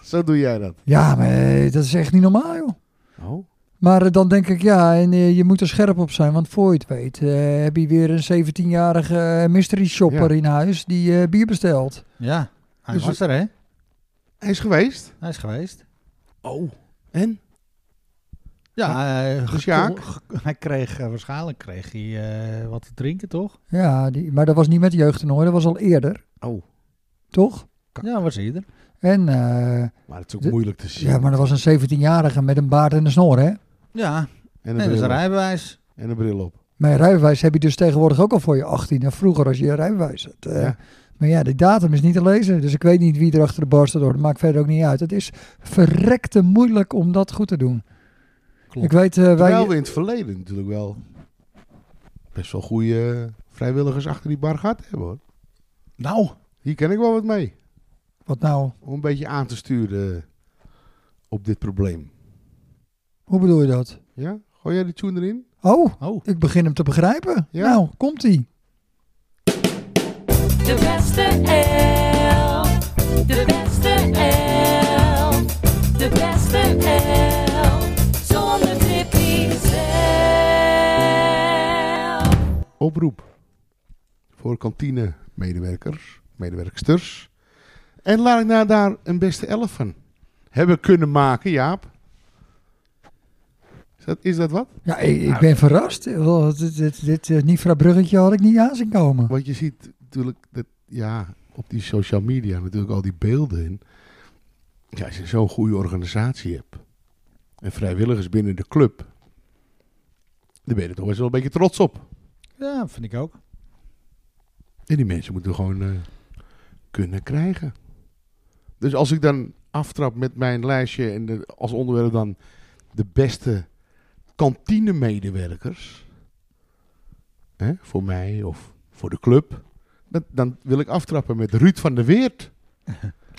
[SPEAKER 4] zo doe jij dat.
[SPEAKER 1] Ja, maar eh, dat is echt niet normaal, joh.
[SPEAKER 4] Oh.
[SPEAKER 1] Maar eh, dan denk ik, ja, en eh, je moet er scherp op zijn, want voor je het weet eh, heb je weer een 17-jarige eh, mystery shopper
[SPEAKER 4] Ja.
[SPEAKER 1] in huis die eh, bier bestelt.
[SPEAKER 2] Ja, hij
[SPEAKER 4] Dus-
[SPEAKER 2] was er hè?
[SPEAKER 4] Hij is geweest.
[SPEAKER 2] Hij is geweest.
[SPEAKER 4] Oh. En?
[SPEAKER 2] Ja, hij, eh,
[SPEAKER 4] Sjaak?
[SPEAKER 2] ge- hij kreeg eh, waarschijnlijk kreeg hij eh, wat te drinken, toch?
[SPEAKER 1] Ja, die, maar dat was niet met de jeugdtoernooi, dat was al eerder,
[SPEAKER 4] Oh.
[SPEAKER 1] toch?
[SPEAKER 4] Kak.
[SPEAKER 2] Ja, was hij er.
[SPEAKER 1] En eh,
[SPEAKER 4] Maar het is ook
[SPEAKER 1] De-
[SPEAKER 4] moeilijk te zien.
[SPEAKER 1] ja, maar dat was een 17-jarige met een baard en een snor, hè?
[SPEAKER 2] Ja,
[SPEAKER 4] En een
[SPEAKER 2] en dus
[SPEAKER 4] bril
[SPEAKER 2] een
[SPEAKER 4] op.
[SPEAKER 2] rijbewijs.
[SPEAKER 4] En een bril op.
[SPEAKER 1] Maar je rijbewijs heb je dus tegenwoordig ook al voor je 18 en vroeger als je je rijbewijs had. eh.
[SPEAKER 4] Ja.
[SPEAKER 1] Maar ja, de datum is niet te lezen, dus ik weet niet wie er achter de bar staat. hoor. Dat maakt verder ook niet uit. Het is verrekte moeilijk om dat goed te doen.
[SPEAKER 2] Klopt.
[SPEAKER 1] Ik weet, eh, wij,
[SPEAKER 4] Terwijl we in het verleden natuurlijk wel best wel goede vrijwilligers achter die bar gehad hebben hoor.
[SPEAKER 2] Nou,
[SPEAKER 4] Hier ken ik wel wat mee.
[SPEAKER 1] wat nou?
[SPEAKER 4] Om een beetje aan te sturen op dit probleem.
[SPEAKER 1] Hoe bedoel je dat?
[SPEAKER 4] Ja? Gooi jij de tune erin?
[SPEAKER 1] Oh,
[SPEAKER 2] oh,
[SPEAKER 1] ik begin hem te begrijpen.
[SPEAKER 4] Ja.
[SPEAKER 1] Nou, komt-ie.
[SPEAKER 6] De beste elf. De beste elf. De beste elf. Zonder trippie zelf.
[SPEAKER 4] Oproep voor kantine medewerkers, medewerksters. En laat ik nou daar een beste elf van hebben kunnen maken, Jaap. Is dat, is dat wat?
[SPEAKER 1] Ja, ik,
[SPEAKER 2] Nou.
[SPEAKER 1] ik ben verrast. Wel, Dit, dit, dit eh, Nifra Bruggetje had ik niet aan zien komen.
[SPEAKER 4] Want je ziet natuurlijk dat, ja, op die social media natuurlijk al die beelden in. Ja, als je zo'n goede organisatie hebt en vrijwilligers binnen de club, dan ben je er toch best wel een beetje trots op.
[SPEAKER 2] ja, vind ik ook.
[SPEAKER 4] En die mensen moeten we gewoon eh, kunnen krijgen. Dus als ik dan aftrap met mijn lijstje en de- als onderwerp dan de beste kantinemedewerkers. Hè, voor mij of voor de club. Dan, dan wil ik aftrappen met Ruud van der Weert.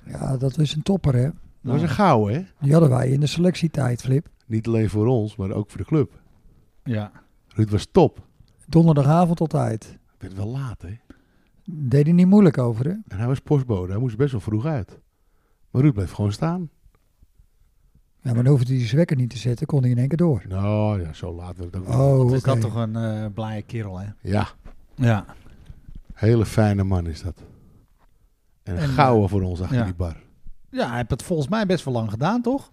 [SPEAKER 1] Ja, dat is een topper, hè?
[SPEAKER 4] Dat was een gouden, hè?
[SPEAKER 1] Die hadden wij in de selectietijd, Flip.
[SPEAKER 4] Niet alleen voor ons, maar ook voor de club.
[SPEAKER 2] Ja,
[SPEAKER 4] Ruud was top.
[SPEAKER 1] Donderdagavond altijd.
[SPEAKER 4] Het werd wel laat, hè?
[SPEAKER 1] Deed hij niet moeilijk over, hè?
[SPEAKER 4] En hij was postbode. Hij moest best wel vroeg uit. Maar Ruud bleef gewoon staan.
[SPEAKER 1] Ja, maar dan hoefde hij zijn wekker niet te zetten, kon hij in één keer door.
[SPEAKER 4] Nou ja, zo laat werd het ook niet.
[SPEAKER 1] Oh,
[SPEAKER 2] is
[SPEAKER 1] oké.
[SPEAKER 2] dat Dus toch een eh, blije kerel, hè?
[SPEAKER 4] Ja.
[SPEAKER 2] Ja.
[SPEAKER 4] Hele fijne man is dat. En een
[SPEAKER 2] En, eh,
[SPEAKER 4] gouden voor ons achter
[SPEAKER 2] ja.
[SPEAKER 4] die bar.
[SPEAKER 2] Ja, hij heeft het volgens mij best wel lang gedaan, toch?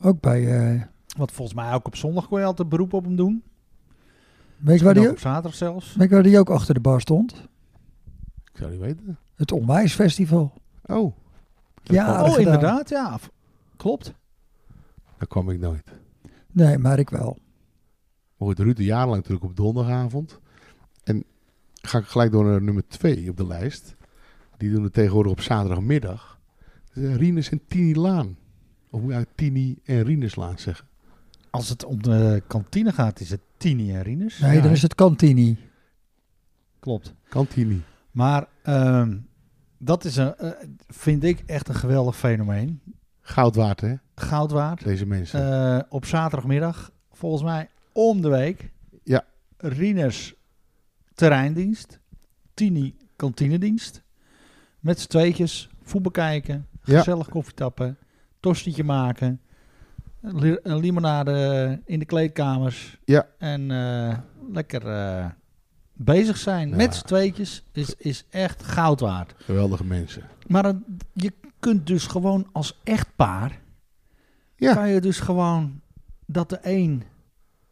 [SPEAKER 1] Ook bij... eh
[SPEAKER 2] Want volgens mij ook op zondag kon je altijd beroep op hem doen.
[SPEAKER 1] weet, je waar
[SPEAKER 2] En
[SPEAKER 1] die,
[SPEAKER 2] ook op zaterdag zelfs.
[SPEAKER 1] weet je waar die ook achter de bar stond?
[SPEAKER 4] Ik zou niet weten.
[SPEAKER 1] Het Onwijsfestival.
[SPEAKER 4] Oh,
[SPEAKER 1] Ja,
[SPEAKER 2] oh,
[SPEAKER 1] aardig gedaan.
[SPEAKER 2] inderdaad, ja. v- Klopt.
[SPEAKER 4] daar kwam ik nooit.
[SPEAKER 1] Nee, maar ik wel.
[SPEAKER 4] Maar goed, Ruud een jaar lang natuurlijk op donderdagavond. En ga ik gelijk door naar nummer twee op de lijst. Die doen het tegenwoordig op zaterdagmiddag. Dat is Rines en Tini Laan. Of moet je eigenlijk Tini en Rines Laan zeggen?
[SPEAKER 2] Als het om de kantine gaat, is het Tini en Rinus.
[SPEAKER 1] Nee,
[SPEAKER 2] Ja,
[SPEAKER 1] dan is het Cantini.
[SPEAKER 2] Klopt.
[SPEAKER 4] Kantini.
[SPEAKER 2] Maar ehm, dat is een, eh, vind ik echt een geweldig fenomeen.
[SPEAKER 4] Goud waard, hè?
[SPEAKER 2] Goud waard.
[SPEAKER 4] Deze mensen.
[SPEAKER 2] Eh, op zaterdagmiddag, volgens mij om de week.
[SPEAKER 4] Ja.
[SPEAKER 2] Rieners terreindienst. Tini kantinedienst. Met z'n tweetjes voetbal kijken.
[SPEAKER 4] Ja.
[SPEAKER 2] Gezellig koffie tappen. Tostietje maken. li- eh, limonade in de kleedkamers.
[SPEAKER 4] Ja.
[SPEAKER 2] En eh, lekker eh, bezig zijn
[SPEAKER 4] Ja.
[SPEAKER 2] met z'n tweetjes is, is echt goud waard.
[SPEAKER 4] Geweldige mensen.
[SPEAKER 2] Maar het- je kunt dus gewoon als echtpaar...
[SPEAKER 4] Ja.
[SPEAKER 2] kan je dus gewoon dat de een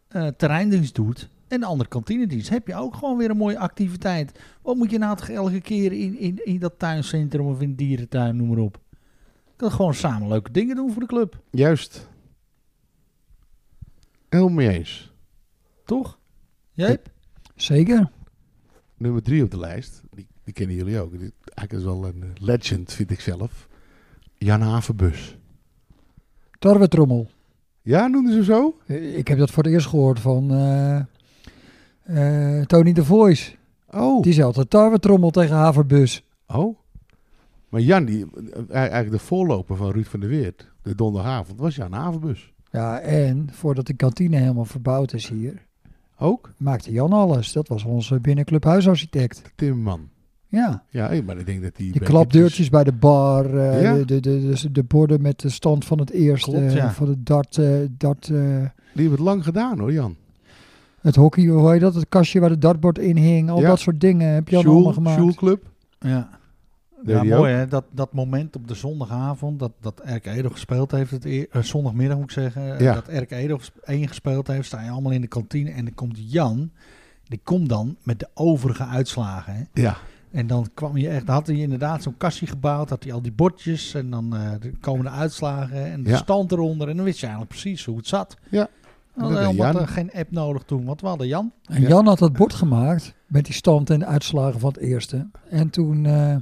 [SPEAKER 2] eh, terreindienst doet... En de ander kantinedienst. Heb je ook gewoon weer een mooie activiteit. Wat moet je nou toch elke keer in, in, in dat tuincentrum of in de dierentuin, noem maar op. Je kan gewoon samen leuke dingen doen voor de club.
[SPEAKER 4] Juist. Helemaal mee eens.
[SPEAKER 2] Toch? Jeep?
[SPEAKER 1] Zeker.
[SPEAKER 4] Nummer drie op de lijst. Die, die kennen jullie ook. Die, eigenlijk is wel een eh, legend, vind ik zelf. Jan Havenbus.
[SPEAKER 1] Tarwetrommel.
[SPEAKER 4] Ja, noemden ze hem zo?
[SPEAKER 1] Eh, Ik heb dat voor het eerst gehoord van eh, eh, Tony de Voice.
[SPEAKER 4] Oh.
[SPEAKER 1] Die zei altijd tarwetrommel tegen Haverbus.
[SPEAKER 4] Oh. Maar Jan, die, eh, eigenlijk de voorloper van Ruud van der Weert, de donderdagavond, was Jan Havenbus.
[SPEAKER 1] Ja, en voordat de kantine helemaal verbouwd is hier,
[SPEAKER 4] Ook?
[SPEAKER 1] maakte Jan alles. Dat was onze binnenclub huisarchitect.
[SPEAKER 4] De timmerman.
[SPEAKER 1] Ja,
[SPEAKER 4] Ja, hé, maar ik denk dat die...
[SPEAKER 1] die klapdeurtjes bij de bar, eh,
[SPEAKER 4] dus. Ja.
[SPEAKER 1] de, de, de, de, de borden met de stand van het eerste,
[SPEAKER 2] Klopt, ja.
[SPEAKER 1] van het dart, eh, dart eh,
[SPEAKER 4] Die hebben het lang gedaan hoor, Jan.
[SPEAKER 1] het hockey, hoe heet dat? Het kastje waar het dartbord in hing, al
[SPEAKER 4] Ja.
[SPEAKER 1] dat soort dingen heb je allemaal
[SPEAKER 4] Sjoel,
[SPEAKER 1] gemaakt.
[SPEAKER 4] Sjoelclub.
[SPEAKER 2] Ja.
[SPEAKER 4] Deed
[SPEAKER 2] Ja,
[SPEAKER 4] hij
[SPEAKER 2] mooi hè. Dat, dat moment op de zondagavond dat, dat Erk Edo gespeeld heeft. Het eer- eh, zondagmiddag moet ik zeggen. eh,
[SPEAKER 4] Ja.
[SPEAKER 2] Dat Erk Edo ges- één gespeeld heeft. Sta je allemaal in de kantine. En dan komt Jan. Die komt dan met de overige uitslagen. Hè.
[SPEAKER 4] Ja.
[SPEAKER 2] En dan kwam je echt, had hij inderdaad zo'n kassie gebouwd, had hij al die bordjes en dan eh, de komende uitslagen en de
[SPEAKER 4] Ja.
[SPEAKER 2] stand eronder. En dan wist je eigenlijk precies hoe het zat.
[SPEAKER 4] Ja.
[SPEAKER 2] We
[SPEAKER 4] Dat
[SPEAKER 2] hadden
[SPEAKER 4] deed
[SPEAKER 2] helemaal
[SPEAKER 4] Jan.
[SPEAKER 2] eh, geen app nodig toen, want we hadden Jan.
[SPEAKER 1] En
[SPEAKER 4] Ja.
[SPEAKER 1] Jan had dat bord gemaakt met die stand en de uitslagen van het eerste. En toen, eh,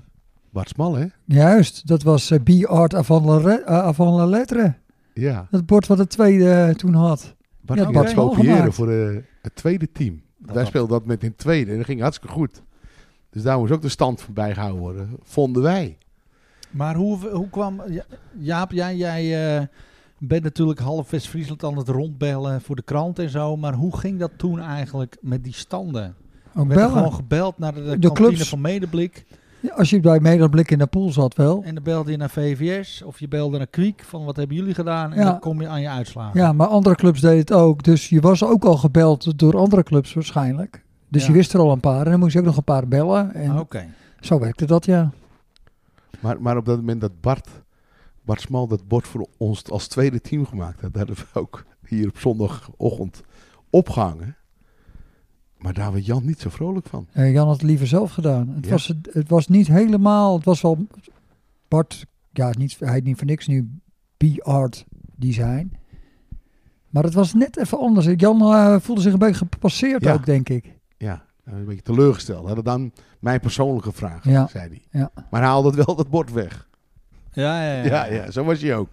[SPEAKER 4] Bart Smal, hè?
[SPEAKER 1] juist, dat was eh, B-Art avant, la re- eh, avant la lettre.
[SPEAKER 4] Ja.
[SPEAKER 1] Dat bord wat het tweede eh, toen had.
[SPEAKER 4] Bart
[SPEAKER 1] Ja,
[SPEAKER 4] ging
[SPEAKER 1] Bart
[SPEAKER 4] dat
[SPEAKER 1] Smal
[SPEAKER 4] kopiëren
[SPEAKER 1] gemaakt.
[SPEAKER 4] voor eh, het tweede team.
[SPEAKER 2] Dat
[SPEAKER 4] Wij
[SPEAKER 2] had-
[SPEAKER 4] speelden dat met in het tweede en dat ging hartstikke goed. Dus daar moest ook de stand van bijgehouden worden, vonden wij.
[SPEAKER 2] Maar hoe, hoe kwam, Ja- Jaap, jij, jij eh, bent natuurlijk half West-Friesland aan het rondbellen voor de krant en zo. Maar hoe ging dat toen eigenlijk met die standen?
[SPEAKER 1] Ook
[SPEAKER 2] Werd er
[SPEAKER 1] bellen.
[SPEAKER 2] gewoon gebeld naar de, de
[SPEAKER 1] De
[SPEAKER 2] kantine
[SPEAKER 1] clubs.
[SPEAKER 2] van Medeblik.
[SPEAKER 1] Ja, eh, Als je bij Medeblik in de pool zat wel.
[SPEAKER 2] En dan belde je naar VVS of je belde naar Kwiek van wat hebben jullie gedaan? En
[SPEAKER 1] Ja.
[SPEAKER 2] dan kom je aan je uitslagen.
[SPEAKER 1] Ja, maar andere clubs deden het ook. Dus je was ook al gebeld door andere clubs waarschijnlijk. Dus
[SPEAKER 2] Ja.
[SPEAKER 1] je wist er al een paar. En dan moest je ook nog een paar bellen. En
[SPEAKER 2] Ah, Oké.
[SPEAKER 1] zo werkte dat, ja.
[SPEAKER 4] Maar, maar op dat moment dat Bart, Bart Smal dat bord voor ons als tweede team gemaakt had, dat hadden we ook hier op zondagochtend opgehangen. Maar daar werd Jan niet zo vrolijk van.
[SPEAKER 1] Eh, Jan had het liever zelf gedaan. Het,
[SPEAKER 4] Ja.
[SPEAKER 1] was, het, het was niet helemaal... Het was wel... Bart, ja, niet, hij heet niet voor niks nu B-Art Design. Maar het was net even anders. Jan eh, voelde zich een beetje gepasseerd
[SPEAKER 4] Ja.
[SPEAKER 1] ook, denk ik.
[SPEAKER 4] Ja, hij was een beetje teleurgesteld. Hij had dan mijn persoonlijke vraag,
[SPEAKER 1] Ja.
[SPEAKER 4] zei hij.
[SPEAKER 1] Ja.
[SPEAKER 4] Maar hij haalde wel dat bord weg.
[SPEAKER 2] Ja, ja,
[SPEAKER 4] Ja,
[SPEAKER 2] ja.
[SPEAKER 4] ja, zo was hij ook.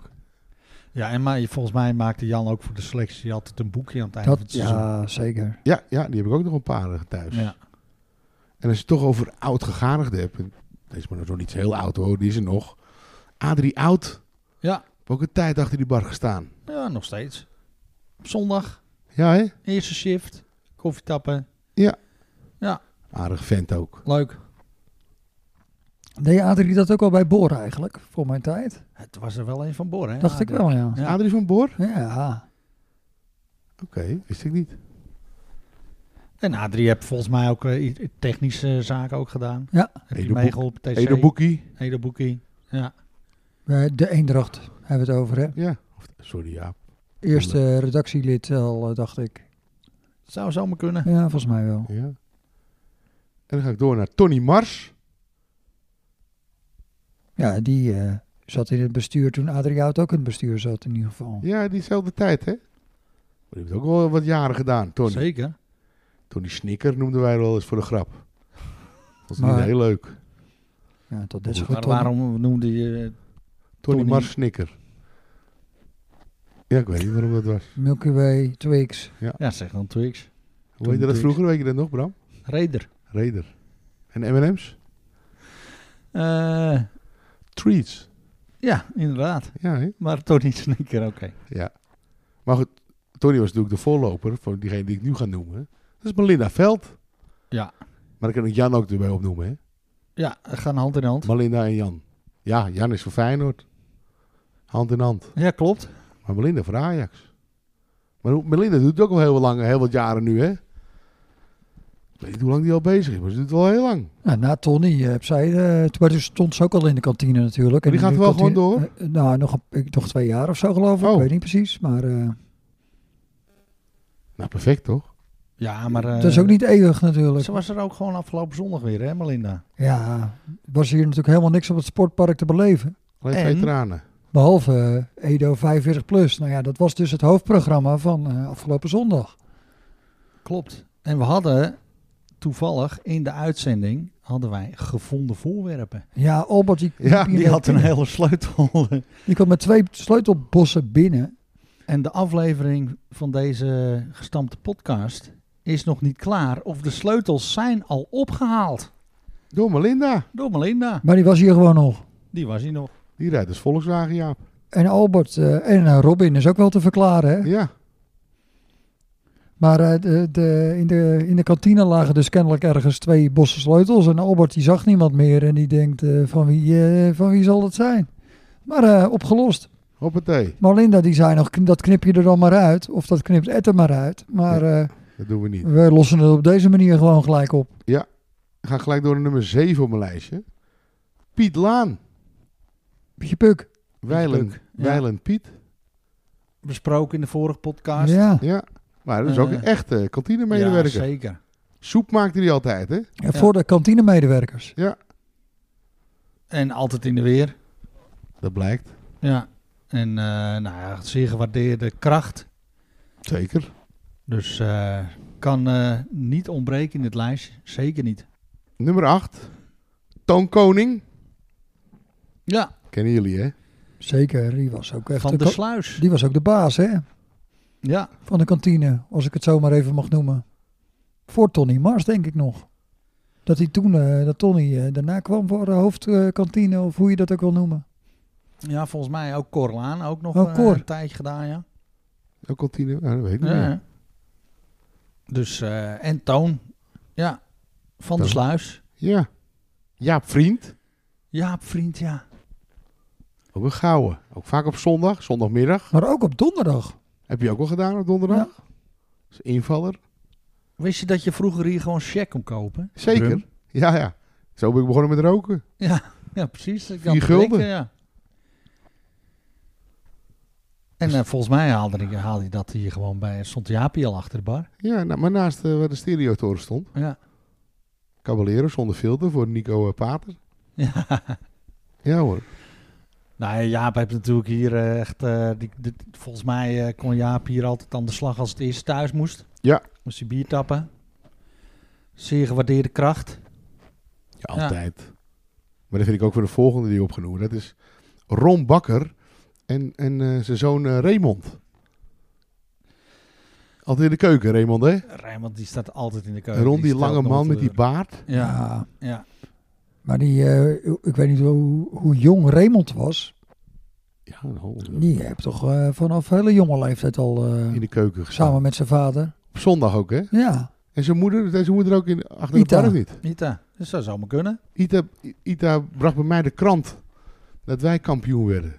[SPEAKER 2] Ja, en maar, je- volgens mij maakte Jan ook voor de selectie altijd een boekje aan het einde
[SPEAKER 1] Dat,
[SPEAKER 2] van het seizoen.
[SPEAKER 1] ja, zeker.
[SPEAKER 4] Ja, ja, die heb ik ook nog een paar eh, thuis.
[SPEAKER 2] Ja.
[SPEAKER 4] En als je het toch over oud gegadigden hebt. en Deze is maar nog niet zo heel oud hoor, die is er nog. Adrie Oud.
[SPEAKER 2] Ja.
[SPEAKER 4] Heb Ook een tijd achter die bar gestaan.
[SPEAKER 2] ja, nog steeds. Op zondag,
[SPEAKER 4] Ja, hè?
[SPEAKER 2] eerste shift, koffietappen,
[SPEAKER 4] Aardig vent ook.
[SPEAKER 2] leuk.
[SPEAKER 1] Deed Adrie dat ook al bij Boor eigenlijk, voor mijn tijd?
[SPEAKER 2] Het was er wel een van Bor, hè?
[SPEAKER 1] Dacht ik wel, ja.
[SPEAKER 2] Ja.
[SPEAKER 4] Adrie van Boor?
[SPEAKER 1] Ja,
[SPEAKER 4] Oké, wist ik niet.
[SPEAKER 2] En Adrie heb volgens mij ook eh, i- technische zaken ook gedaan.
[SPEAKER 1] Ja.
[SPEAKER 2] Heb je
[SPEAKER 4] Edo
[SPEAKER 2] meegeholpen, TC,
[SPEAKER 4] Edo Boekie.
[SPEAKER 2] Edo Boekie.
[SPEAKER 1] Eh, de Eendracht hebben we het over, hè?
[SPEAKER 4] Ja. Of- Sorry, Jaap.
[SPEAKER 1] Eerste redactielid al, eh, dacht ik.
[SPEAKER 2] Zou zomaar kunnen.
[SPEAKER 1] Ja, volgens mij wel.
[SPEAKER 4] Ja. En dan ga ik door naar Tony Mars.
[SPEAKER 1] Ja, die eh, zat in het bestuur toen Adrie Hout ook in het bestuur zat, in ieder geval.
[SPEAKER 4] Ja, diezelfde tijd, hè? Maar die heeft ook wel wat jaren gedaan, Tony.
[SPEAKER 2] Zeker.
[SPEAKER 4] Tony Snikker noemden wij wel eens voor de grap. Dat is
[SPEAKER 1] Maar-
[SPEAKER 4] niet heel leuk.
[SPEAKER 1] Ja, dat is
[SPEAKER 4] Maar
[SPEAKER 1] goed.
[SPEAKER 2] Maar
[SPEAKER 1] dan.
[SPEAKER 2] waarom noemde je... eh,
[SPEAKER 4] Tony,
[SPEAKER 2] Tony-
[SPEAKER 4] Mars Snikker. Ja, ik weet niet waarom dat was.
[SPEAKER 1] Milky Way, Twix.
[SPEAKER 2] Ja, zeg dan Twix.
[SPEAKER 4] Hoe heette dat
[SPEAKER 2] Twix.
[SPEAKER 4] vroeger? Weet je dat nog, Bram?
[SPEAKER 2] Raider.
[SPEAKER 4] Raider. En M&M's?
[SPEAKER 2] Eh,
[SPEAKER 4] Treats.
[SPEAKER 2] ja, inderdaad.
[SPEAKER 4] Ja, hè?
[SPEAKER 2] Maar Tony Sneaker, oké.
[SPEAKER 4] Ja. Maar goed, Tony was natuurlijk de voorloper van diegene die ik nu ga noemen. Dat is Melinda Veld.
[SPEAKER 2] Ja.
[SPEAKER 4] Maar ik kan ik Jan ook erbij opnoemen, hè?
[SPEAKER 2] Ja, gaan hand in hand.
[SPEAKER 4] Melinda en Jan. Ja, Jan is voor Feyenoord. Hand in hand.
[SPEAKER 2] Ja, klopt.
[SPEAKER 4] Maar Melinda voor Ajax. Maar hoe- Melinda doet het ook al heel lang, heel wat jaren nu, hè? Ik weet niet hoe lang die al bezig is, maar ze doet het al heel lang.
[SPEAKER 1] Nou, na Tony heb zij, eh, t- maar dus stond ze ook al in de kantine natuurlijk.
[SPEAKER 4] Maar die
[SPEAKER 1] in
[SPEAKER 4] gaat
[SPEAKER 1] de
[SPEAKER 4] wel
[SPEAKER 1] kantine-
[SPEAKER 4] gewoon door?
[SPEAKER 1] eh, nou, nog, een- ik- nog twee jaar of zo geloof ik.
[SPEAKER 4] Oh.
[SPEAKER 1] Ik weet niet precies, maar eh,
[SPEAKER 4] Nou, perfect toch?
[SPEAKER 2] Ja, maar... eh,
[SPEAKER 1] het is ook niet eeuwig natuurlijk.
[SPEAKER 2] Ze was er ook gewoon afgelopen zondag weer, hè Melinda?
[SPEAKER 1] Ja, was hier natuurlijk helemaal niks op het sportpark te beleven.
[SPEAKER 4] Alleen
[SPEAKER 2] En?
[SPEAKER 4] twee tranen.
[SPEAKER 1] Behalve eh, Edo 45 plus. Nou ja, dat was dus het hoofdprogramma van eh, afgelopen zondag.
[SPEAKER 2] Klopt. En we hadden toevallig in de uitzending hadden wij gevonden voorwerpen.
[SPEAKER 1] Ja, Albert die,
[SPEAKER 4] Ja,
[SPEAKER 1] kwam
[SPEAKER 2] Die
[SPEAKER 1] hier-
[SPEAKER 2] had een hele sleutel.
[SPEAKER 1] die kwam met twee sleutelbossen binnen.
[SPEAKER 2] En de aflevering van deze gestampte podcast is nog niet klaar. Of de sleutels zijn al opgehaald
[SPEAKER 4] Door Melinda.
[SPEAKER 2] door Melinda.
[SPEAKER 1] Maar die was hier gewoon nog.
[SPEAKER 2] Die was hier nog.
[SPEAKER 4] Die rijdt dus Volkswagen, Jaap.
[SPEAKER 1] En Albert eh, en eh, Robin is ook wel te verklaren. Hè?
[SPEAKER 4] Ja.
[SPEAKER 1] Maar eh, de, de, in, de, in de kantine lagen dus kennelijk ergens twee bossen sleutels. En Albert die zag niemand meer en die denkt eh, van, wie, eh, van wie zal dat zijn? Maar eh, opgelost.
[SPEAKER 4] Hoppatee.
[SPEAKER 1] Marlinda die zei nog, "Kn- dat knip je er dan maar uit. Of dat knipt Ed er maar uit. Maar eh,
[SPEAKER 4] Dat doen we niet.
[SPEAKER 1] we lossen het op deze manier gewoon gelijk op.
[SPEAKER 4] Ik ga gelijk door naar nummer 7 op mijn lijstje. Piet Laan.
[SPEAKER 1] Pietje Puk.
[SPEAKER 4] Weilen,
[SPEAKER 2] Leuk. Ja.
[SPEAKER 4] Weilen Piet.
[SPEAKER 2] Besproken in de vorige podcast.
[SPEAKER 1] Ja.
[SPEAKER 4] Ja. Maar dat is ook
[SPEAKER 2] Eh,
[SPEAKER 4] een echte
[SPEAKER 2] Ja,
[SPEAKER 4] kantinemedewerker.
[SPEAKER 2] zeker.
[SPEAKER 4] Soep maakte hij altijd, hè?
[SPEAKER 1] En voor de kantinemedewerkers.
[SPEAKER 2] En altijd in de weer.
[SPEAKER 4] Dat blijkt.
[SPEAKER 2] Ja. En eh nou ja, zeer gewaardeerde kracht.
[SPEAKER 4] Zeker.
[SPEAKER 2] Dus eh, kan eh, niet ontbreken in het lijstje. Zeker niet.
[SPEAKER 4] Nummer 8. Toon Koning.
[SPEAKER 2] Ja,
[SPEAKER 4] Kennen jullie, hè?
[SPEAKER 1] Zeker, die was ook echt
[SPEAKER 2] van
[SPEAKER 1] de
[SPEAKER 2] de
[SPEAKER 1] ka-
[SPEAKER 2] sluis.
[SPEAKER 1] die was ook de baas hè,
[SPEAKER 2] Ja,
[SPEAKER 1] van de kantine. Als ik het zo maar even mag noemen. Voor Tony Mars denk ik nog. Dat hij toen, eh, dat Tony eh, daarna kwam voor de hoofdkantine of hoe je dat ook wil noemen.
[SPEAKER 2] ja volgens mij ook Corlaan. Ook nog
[SPEAKER 1] Oh,
[SPEAKER 2] eh,
[SPEAKER 1] Cor.
[SPEAKER 2] een tijdje gedaan, ja.
[SPEAKER 4] Ook kantine? Nou, dat weet ik niet
[SPEAKER 2] Ja.
[SPEAKER 4] meer.
[SPEAKER 2] Dus, eh, en Toon. Ja, van
[SPEAKER 4] Toon.
[SPEAKER 2] de Sluis.
[SPEAKER 4] Ja. Jaap Vriend.
[SPEAKER 2] Jaap, vriend, ja.
[SPEAKER 4] Ook een gouden. Ook vaak op zondag, zondagmiddag.
[SPEAKER 1] Maar ook op donderdag.
[SPEAKER 4] Heb je ook wel gedaan op donderdag? Als invaller.
[SPEAKER 2] Wist je dat je vroeger hier gewoon check kon kopen?
[SPEAKER 4] Zeker.
[SPEAKER 2] Rum?
[SPEAKER 4] Ja, ja. Zo ben ik begonnen met roken.
[SPEAKER 2] Ja, ja precies. Ik
[SPEAKER 4] Vier
[SPEAKER 2] had
[SPEAKER 4] gulden.
[SPEAKER 2] drinken, ja. En eh, volgens mij haalde, ik, haalde je dat hier gewoon bij. Stond Jaapie al achter de bar.
[SPEAKER 4] Ja, nou, maar naast eh, waar de stereotoren stond.
[SPEAKER 2] Ja.
[SPEAKER 4] Caballero zonder filter voor Nico eh, Pater.
[SPEAKER 2] ja.
[SPEAKER 4] Ja hoor.
[SPEAKER 2] Nou, Jaap heeft natuurlijk hier eh, echt... eh, die, dit- volgens mij eh, kon Jaap hier altijd aan de slag als het eerst thuis moest.
[SPEAKER 4] Ja.
[SPEAKER 2] Moest hij bier tappen. Zeer gewaardeerde kracht.
[SPEAKER 4] Ja, altijd. Maar dat vind ik ook voor de volgende die ik op ga noemen. Dat is Ron Bakker en, en eh, zijn zoon eh, Raymond. Altijd in de keuken, Raymond, hè?
[SPEAKER 2] Rijnmond die staat altijd in de keuken.
[SPEAKER 4] Ron, die,
[SPEAKER 2] stelt eh,
[SPEAKER 4] lange
[SPEAKER 2] nooit
[SPEAKER 4] man met die
[SPEAKER 2] teleur.
[SPEAKER 4] baard.
[SPEAKER 2] Ja, ja.
[SPEAKER 1] Maar die, eh, ik weet niet hoe, hoe jong Raymond was.
[SPEAKER 4] Ja, nou,
[SPEAKER 1] Die heeft toch eh, vanaf hele jonge leeftijd al eh,
[SPEAKER 4] in de keuken gestaan.
[SPEAKER 1] samen met zijn vader.
[SPEAKER 4] Op zondag ook, hè?
[SPEAKER 1] Ja,
[SPEAKER 4] En zijn moeder, zijn moeder ook in, achter
[SPEAKER 1] Ita.
[SPEAKER 4] de bar of niet?
[SPEAKER 2] Nita, dus dat zou maar kunnen.
[SPEAKER 4] Ita, Ita bracht bij mij de krant dat wij kampioen werden.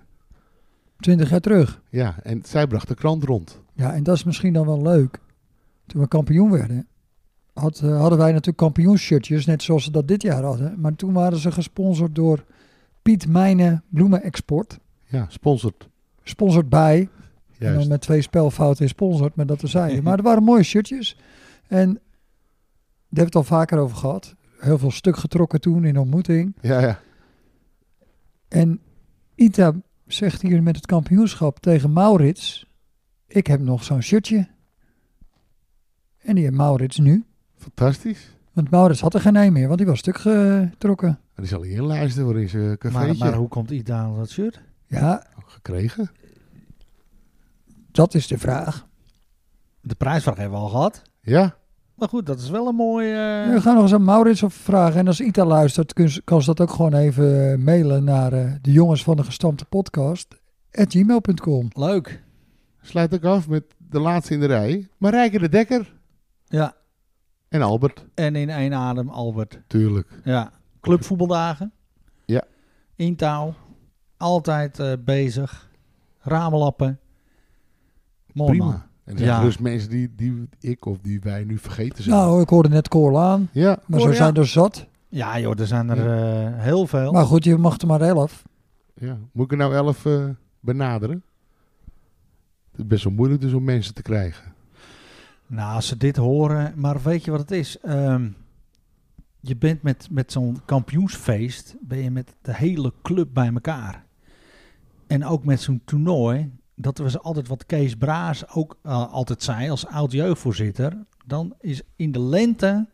[SPEAKER 1] twintig jaar terug.
[SPEAKER 4] Ja, en zij bracht de krant rond.
[SPEAKER 1] Ja, en dat is misschien dan wel leuk. Toen we kampioen werden, had, eh, hadden wij natuurlijk kampioensshirtjes, net zoals ze dat dit jaar hadden. Maar toen waren ze gesponsord door Piet Mijnen Bloemenexport.
[SPEAKER 4] Ja, sponsord.
[SPEAKER 1] Sponsored bij En dan
[SPEAKER 4] Juist.
[SPEAKER 1] met twee spelfouten in sponsort, maar dat terzijde. Maar er waren mooie shirtjes. En daar hebben we het al vaker over gehad. Heel veel stuk getrokken toen in de ontmoeting.
[SPEAKER 4] Ja, ja.
[SPEAKER 1] En Ita zegt hier met het kampioenschap tegen Maurits... ik heb nog zo'n shirtje. En die heeft Maurits nu.
[SPEAKER 4] Fantastisch.
[SPEAKER 1] Want Maurits had er geen een meer, want die was stuk getrokken.
[SPEAKER 4] En die zal hier inlijsten voor in zijn cafeetje.
[SPEAKER 2] Maar, maar hoe komt Ita aan dat shirt?
[SPEAKER 1] Ja,
[SPEAKER 4] Gekregen.
[SPEAKER 1] dat is de vraag.
[SPEAKER 2] De prijsvraag hebben we al gehad.
[SPEAKER 4] Ja,
[SPEAKER 2] Maar goed, dat is wel een mooi... eh,
[SPEAKER 1] We gaan nog eens aan Maurits op vragen. En als Ita luistert, kun ze- kan ze dat ook gewoon even eh, mailen naar eh, de jongens van de gestampte podcast. At gmail.com.
[SPEAKER 2] Leuk.
[SPEAKER 4] sluit ook af met de laatste in de rij. Marijke de Dekker
[SPEAKER 2] Ja,
[SPEAKER 4] en Albert.
[SPEAKER 2] en in één adem Albert.
[SPEAKER 4] Tuurlijk.
[SPEAKER 2] Ja, clubvoetbaldagen.
[SPEAKER 4] Ja.
[SPEAKER 2] In touw. Altijd eh, bezig. Ramelappen. Mooi
[SPEAKER 4] prima.
[SPEAKER 2] man.
[SPEAKER 4] En er zijn
[SPEAKER 2] Ja.
[SPEAKER 4] dus mensen die, die ik of die wij nu vergeten zijn.
[SPEAKER 1] Nou, ik hoorde net Corlaan,
[SPEAKER 4] ja,
[SPEAKER 1] maar
[SPEAKER 2] Cor,
[SPEAKER 1] zo
[SPEAKER 2] ja.
[SPEAKER 1] zijn er zat.
[SPEAKER 2] Ja joh, er zijn er eh, heel veel.
[SPEAKER 1] Maar goed, je mag er maar elf.
[SPEAKER 4] ja. Moet ik er nou elf eh, benaderen? Het is best wel moeilijk dus om mensen te krijgen.
[SPEAKER 2] Nou, als ze dit horen, maar weet je wat het is? Ehm, je bent met, met zo'n kampioensfeest, ben je met de hele club bij elkaar. En ook met zo'n toernooi, dat was altijd wat Kees Braas ook eh, altijd zei als oud-jeugdvoorzitter. Dan is in de lente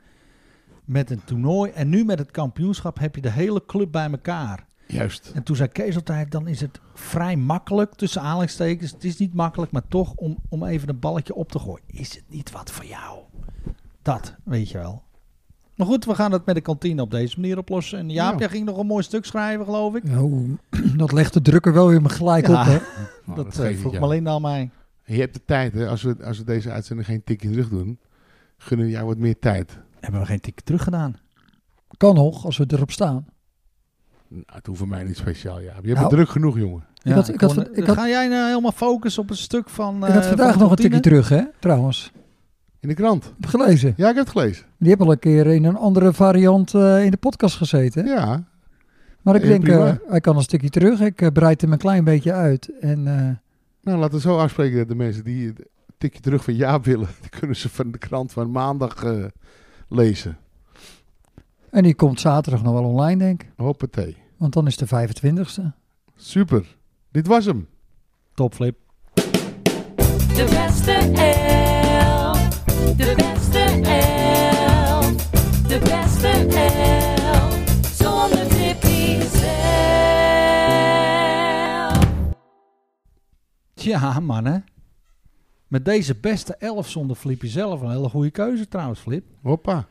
[SPEAKER 2] met een toernooi en nu met het kampioenschap heb je de hele club bij elkaar.
[SPEAKER 4] Juist.
[SPEAKER 2] En toen zei Kees altijd, dan is het vrij makkelijk, tussen aanhalingstekens. Het is niet makkelijk, maar toch om, om even een balletje op te gooien. Is het niet wat voor jou? Dat, weet je wel. Maar goed, we gaan het met de kantine op deze manier oplossen. En Jaap,
[SPEAKER 4] Ja.
[SPEAKER 2] jij ging nog een mooi stuk schrijven, geloof ik.
[SPEAKER 1] Ja, hoe- Nou, dat legt de drukker wel weer me gelijk
[SPEAKER 2] Ja.
[SPEAKER 1] op. Hè?
[SPEAKER 4] Nou,
[SPEAKER 2] dat
[SPEAKER 4] geeft
[SPEAKER 2] eh,
[SPEAKER 4] niet,
[SPEAKER 2] vroeg
[SPEAKER 4] ja.
[SPEAKER 2] Malin aan mij.
[SPEAKER 4] Je hebt de tijd, hè? Als we, als we deze uitzending geen tikje terug doen, gunnen we jou wat meer tijd.
[SPEAKER 2] Hebben we geen tik terug gedaan?
[SPEAKER 1] Kan nog, als we erop staan.
[SPEAKER 4] Nou, het hoeft voor mij niet speciaal, ja. Je hebt
[SPEAKER 1] Nou.
[SPEAKER 4] het druk genoeg, jongen.
[SPEAKER 1] Ik had- ik had
[SPEAKER 2] kon-
[SPEAKER 1] van- ik had-
[SPEAKER 2] ga jij nou helemaal focussen op een stuk van.
[SPEAKER 1] ik had
[SPEAKER 4] eh,
[SPEAKER 1] vandaag nog een tikje terug, hè, trouwens.
[SPEAKER 4] In de krant.
[SPEAKER 1] Ik heb gelezen.
[SPEAKER 4] Ja, ik heb het gelezen.
[SPEAKER 1] Die hebben al een keer in een andere variant eh, in de podcast gezeten. hè?
[SPEAKER 4] Ja.
[SPEAKER 1] Maar ik
[SPEAKER 4] Ja,
[SPEAKER 1] denk,
[SPEAKER 4] prima.
[SPEAKER 1] eh, hij kan een stukje terug. Ik eh, breid hem een klein beetje uit. En eh,
[SPEAKER 4] Nou, laten we zo afspreken dat de mensen die het tikje terug van ja willen, die kunnen ze van de krant van maandag eh, lezen.
[SPEAKER 1] En die komt zaterdag nog wel online, denk ik.
[SPEAKER 4] Hoppatee.
[SPEAKER 1] Want dan is de 25ste.
[SPEAKER 4] Super. Dit was hem.
[SPEAKER 2] Topflip.
[SPEAKER 6] De beste elf. De beste elf. De beste elf. Zonder Tippy zelf.
[SPEAKER 2] Ja, man, hè. Met deze beste elf zonder Flip zelf een hele goede keuze, trouwens, Flip.
[SPEAKER 4] Hoppa.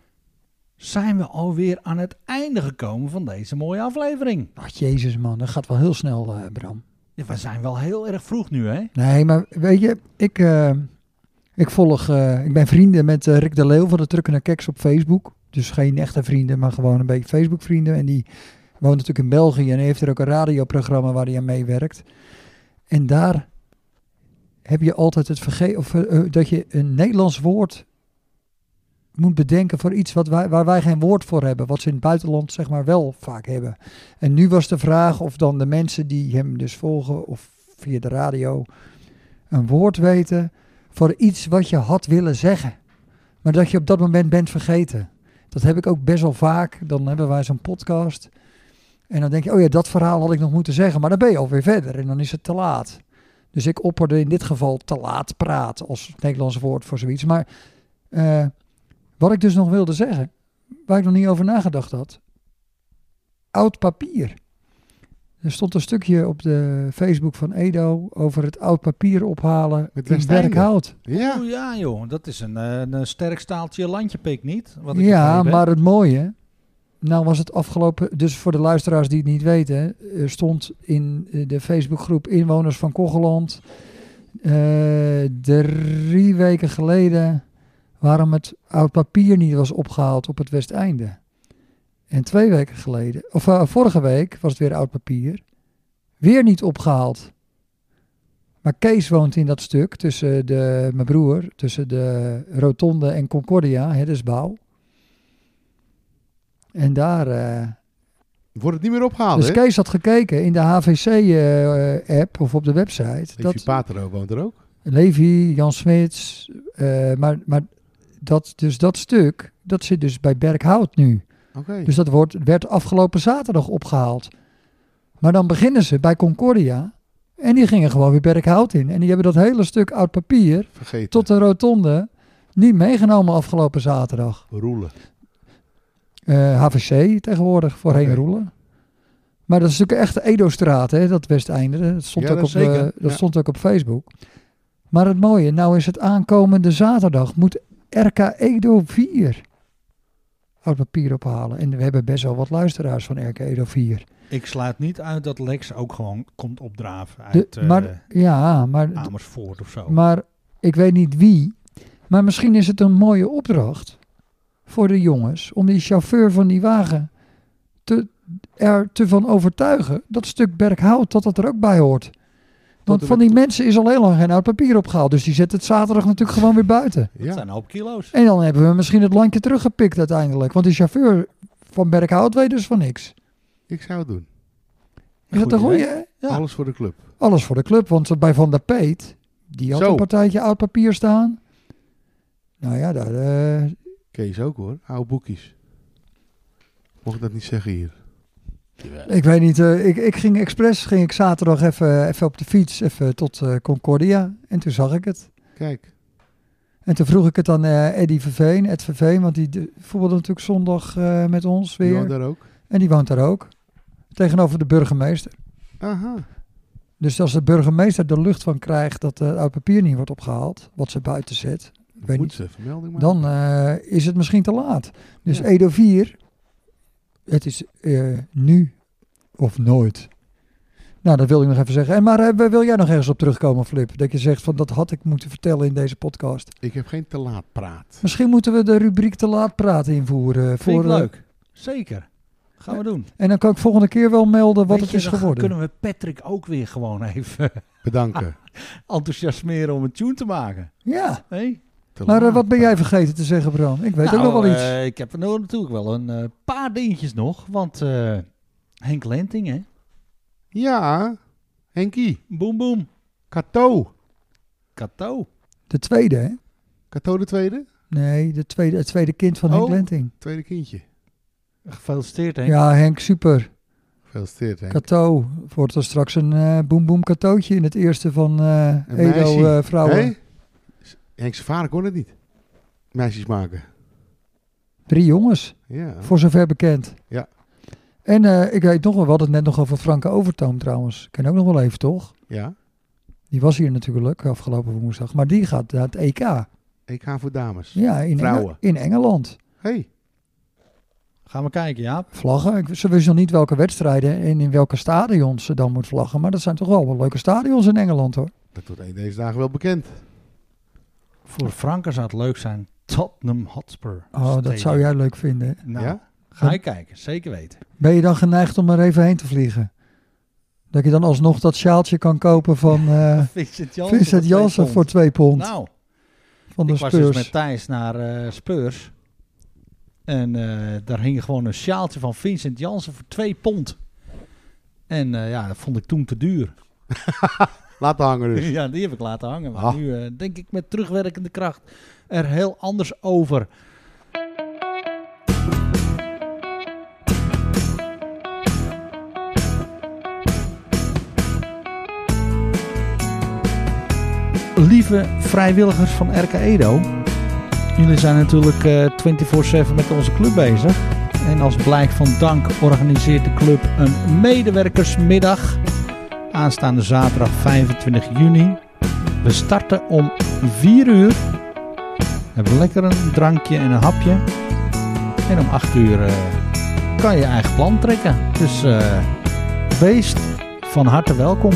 [SPEAKER 2] zijn we alweer aan het einde gekomen van deze mooie aflevering.
[SPEAKER 1] Ach, jezus man, dat gaat wel heel snel, eh, Bram.
[SPEAKER 2] Ja, we zijn wel heel erg vroeg nu, hè?
[SPEAKER 1] Nee, maar weet je, ik, eh, ik volg... eh, ik ben vrienden met eh, Rick de Leeuw van de Trukken en Keks op Facebook. Dus geen echte vrienden, maar gewoon een beetje Facebook vrienden. En die woont natuurlijk in België en heeft er ook een radioprogramma waar hij aan meewerkt. En daar heb je altijd het vergeten... Of eh, eh, dat je een Nederlands woord moet bedenken voor iets wat wij, waar wij geen woord voor hebben. Wat ze in het buitenland zeg maar wel vaak hebben. En nu was de vraag of dan de mensen die hem dus volgen of via de radio een woord weten voor iets wat je had willen zeggen. Maar dat je op dat moment bent vergeten. Dat heb ik ook best wel vaak. Dan hebben wij zo'n podcast. En dan denk je, oh ja, dat verhaal had ik nog moeten zeggen. Maar dan ben je alweer verder en dan is het te laat. Dus ik opperde in dit geval te laat praat als Nederlands woord voor zoiets. Maar eh, wat ik dus nog wilde zeggen, waar ik nog niet over nagedacht had. Oud papier. Er stond een stukje op de Facebook van Edo over het oud papier ophalen
[SPEAKER 4] Met
[SPEAKER 1] in
[SPEAKER 4] Westeinde.
[SPEAKER 1] werkhout.
[SPEAKER 4] Ja.
[SPEAKER 2] Oh, ja, joh. Dat is een, eh, een sterk staaltje landjepik, niet? Wat ik
[SPEAKER 1] Ja,
[SPEAKER 2] begrepen heb.
[SPEAKER 1] maar het mooie. Nou was het afgelopen, dus voor de luisteraars die het niet weten, eh, stond in eh, de Facebookgroep Inwoners van Kogeland eh, drie weken geleden waarom het oud papier niet was opgehaald op het Westeinde. En twee weken geleden, of eh, vorige week was het weer oud papier, weer niet opgehaald. Maar Kees woont in dat stuk tussen de, mijn broer, tussen de Rotonde en Concordia, dus Herdesbouw. En daar. eh,
[SPEAKER 4] Wordt het niet meer opgehaald,
[SPEAKER 1] dus
[SPEAKER 4] Ah, hè?
[SPEAKER 1] Kees had gekeken in de HVC-app eh, of op de website.
[SPEAKER 4] Levi
[SPEAKER 1] Dat
[SPEAKER 4] Patero woont er ook.
[SPEAKER 1] Levi, Jan Smits. eh, maar maar dat, dus dat stuk, dat zit dus bij Berkhout nu.
[SPEAKER 4] Oké.
[SPEAKER 1] Dus dat wordt, werd afgelopen zaterdag opgehaald. Maar dan beginnen ze bij Concordia. En die gingen gewoon weer Berkhout in. En die hebben dat hele stuk oud papier
[SPEAKER 4] Vergeten.
[SPEAKER 1] tot de rotonde niet meegenomen afgelopen zaterdag.
[SPEAKER 4] Roelen.
[SPEAKER 1] eh HVC tegenwoordig, voorheen
[SPEAKER 4] Oké.
[SPEAKER 1] Roelen. Maar dat is natuurlijk echt de Edo-straat, hè, dat Westeinde. Dat, stond,
[SPEAKER 4] Ja,
[SPEAKER 1] ook
[SPEAKER 4] dat
[SPEAKER 1] op, eh,
[SPEAKER 4] zeker.
[SPEAKER 1] dat
[SPEAKER 4] Ja.
[SPEAKER 1] stond ook op Facebook. Maar het mooie, nou is het aankomende zaterdag, moet RK Edo 4 oud papier ophalen. En we hebben best wel wat luisteraars van RK Edo 4.
[SPEAKER 2] Ik sluit niet uit dat Lex ook gewoon komt opdraven
[SPEAKER 1] De-
[SPEAKER 2] uit eh,
[SPEAKER 1] maar, ja, maar
[SPEAKER 2] Amersfoort of zo.
[SPEAKER 1] Maar ik weet niet wie. Maar misschien is het een mooie opdracht voor de jongens om die chauffeur van die wagen te, er te van overtuigen dat stuk Berghout dat dat er ook bij hoort. Want van die mensen is al heel lang geen oud papier opgehaald. Dus die zetten het zaterdag natuurlijk gewoon weer buiten.
[SPEAKER 2] Dat
[SPEAKER 4] Ja,
[SPEAKER 2] zijn een hoop kilo's.
[SPEAKER 1] En dan hebben we misschien het landje teruggepikt uiteindelijk. Want die chauffeur van Berkhout weet dus van niks.
[SPEAKER 4] ik zou het doen.
[SPEAKER 1] Is dat
[SPEAKER 2] Goed
[SPEAKER 1] een goeie?
[SPEAKER 2] idee.
[SPEAKER 1] hè?
[SPEAKER 2] Ja.
[SPEAKER 4] Alles voor de club.
[SPEAKER 1] Alles voor de club. Want bij Van der Peet, die had
[SPEAKER 4] Zo.
[SPEAKER 1] een partijtje oud papier staan. Nou ja, daar, eh,
[SPEAKER 4] Kees ook hoor, oude boekjes. Mocht ik dat niet zeggen hier?
[SPEAKER 1] ik weet niet. eh, ik, ik ging expres, ging ik zaterdag even, even op de fiets, even tot eh, Concordia. En toen zag ik het.
[SPEAKER 4] Kijk,
[SPEAKER 1] En toen vroeg ik het aan eh Eddy Verveen, Ed Verveen, want die de- voetbalde natuurlijk zondag eh, met ons
[SPEAKER 4] die
[SPEAKER 1] weer.
[SPEAKER 4] woont daar ook.
[SPEAKER 1] En die woont daar ook. Tegenover de burgemeester.
[SPEAKER 4] Aha,
[SPEAKER 1] Dus als de burgemeester de lucht van krijgt dat eh, het oud papier niet wordt opgehaald, wat ze buiten zet,
[SPEAKER 4] moet
[SPEAKER 1] niet.
[SPEAKER 4] ze even melding maken.
[SPEAKER 1] dan eh, is het misschien te laat. Dus
[SPEAKER 4] Ja.
[SPEAKER 1] Edo 4, het is eh, nu of nooit. Nou, dat wilde ik nog even zeggen. En maar eh, wil jij nog ergens op terugkomen, Flip? Dat je zegt van dat had ik moeten vertellen in deze podcast.
[SPEAKER 4] Ik heb geen te laat praat.
[SPEAKER 1] Misschien moeten we de rubriek te laat praten invoeren. eh,
[SPEAKER 2] Vind ik
[SPEAKER 1] eh,
[SPEAKER 2] leuk. Zeker. Gaan we doen.
[SPEAKER 1] En dan kan ik volgende keer wel melden wat
[SPEAKER 2] Weet
[SPEAKER 1] het
[SPEAKER 2] je,
[SPEAKER 1] is
[SPEAKER 2] dan
[SPEAKER 1] geworden.
[SPEAKER 2] kunnen we Patrick ook weer gewoon even
[SPEAKER 4] Bedanken.
[SPEAKER 2] enthousiasmeren om een tune te maken.
[SPEAKER 1] Ja,
[SPEAKER 2] Hé?
[SPEAKER 4] Te
[SPEAKER 1] maar eh,
[SPEAKER 4] laat
[SPEAKER 1] wat ben jij
[SPEAKER 4] praat.
[SPEAKER 1] vergeten te zeggen, Bram? Ik weet
[SPEAKER 2] Nou,
[SPEAKER 1] ook nog wel iets.
[SPEAKER 2] eh, ik heb er nog natuurlijk wel een eh, paar dingetjes nog. Want eh, Henk Lenting, hè?
[SPEAKER 4] Ja, Henkie,
[SPEAKER 2] Boom, boom.
[SPEAKER 4] Kato.
[SPEAKER 2] Kato.
[SPEAKER 1] De tweede, hè?
[SPEAKER 4] Kato de tweede?
[SPEAKER 1] Nee, de tweede, het tweede kind van Henk
[SPEAKER 4] Oh.
[SPEAKER 1] Lenting.
[SPEAKER 4] Tweede kindje.
[SPEAKER 2] Gefeliciteerd, Henk.
[SPEAKER 1] Ja, Henk, super.
[SPEAKER 4] Gefeliciteerd Henk.
[SPEAKER 1] Cato wordt er straks een eh boem boem katootje in het eerste van eh,
[SPEAKER 4] Een
[SPEAKER 1] Edo
[SPEAKER 4] meisje.
[SPEAKER 1] eh, vrouwen.
[SPEAKER 4] Hé? Henk zijn vader kon het niet. Meisjes maken.
[SPEAKER 1] Drie jongens,
[SPEAKER 4] Ja.
[SPEAKER 1] voor zover bekend.
[SPEAKER 4] Ja.
[SPEAKER 1] En eh, ik weet nog wel, we hadden het net nog over Franke Overtoom trouwens. Ken ook nog wel even, toch?
[SPEAKER 4] Ja.
[SPEAKER 1] Die was hier natuurlijk afgelopen woensdag. Maar die gaat naar het EK.
[SPEAKER 4] EK voor dames.
[SPEAKER 1] Ja, in, Enge-
[SPEAKER 4] Vrouwen.
[SPEAKER 1] in Engeland.
[SPEAKER 4] Hey.
[SPEAKER 2] Gaan we kijken, ja.
[SPEAKER 1] Vlaggen. Ik- Ze wist nog niet welke wedstrijden en in welke stadions ze dan moet vlaggen. Maar dat zijn toch wel, wel leuke stadions in Engeland hoor.
[SPEAKER 4] Dat wordt een deze dagen wel bekend.
[SPEAKER 2] Voor Franken zou het leuk zijn. Tottenham Hotspur.
[SPEAKER 1] Oh, dat zou jij leuk vinden.
[SPEAKER 2] Nou,
[SPEAKER 4] Ja?
[SPEAKER 2] ga je kijken. Zeker weten.
[SPEAKER 1] Ben je dan geneigd om er even heen te vliegen? Dat je dan alsnog dat sjaaltje kan kopen van eh
[SPEAKER 2] Vincent
[SPEAKER 1] Vincent Janssen voor twee pond
[SPEAKER 2] Nou,
[SPEAKER 1] van de
[SPEAKER 2] ik was dus
[SPEAKER 1] Spurs.
[SPEAKER 2] met Thijs naar eh, Spurs. En eh, daar hing gewoon een sjaaltje van Vincent Janssen voor 2 pond. En eh, ja, dat vond ik toen te duur.
[SPEAKER 4] Laat hangen dus.
[SPEAKER 2] ja, die heb ik laten hangen. Maar
[SPEAKER 4] Ah.
[SPEAKER 2] nu eh, denk ik met terugwerkende kracht er heel anders over. Lieve vrijwilligers van RK Edo, jullie zijn natuurlijk eh 24-7 met onze club bezig. En als blijk van dank organiseert de club een medewerkersmiddag aanstaande zaterdag 25 juni. We starten om 4 uur. Hebben lekker een drankje en een hapje. En om 8 uur eh, kan je je eigen plan trekken. Dus eh wees van harte welkom.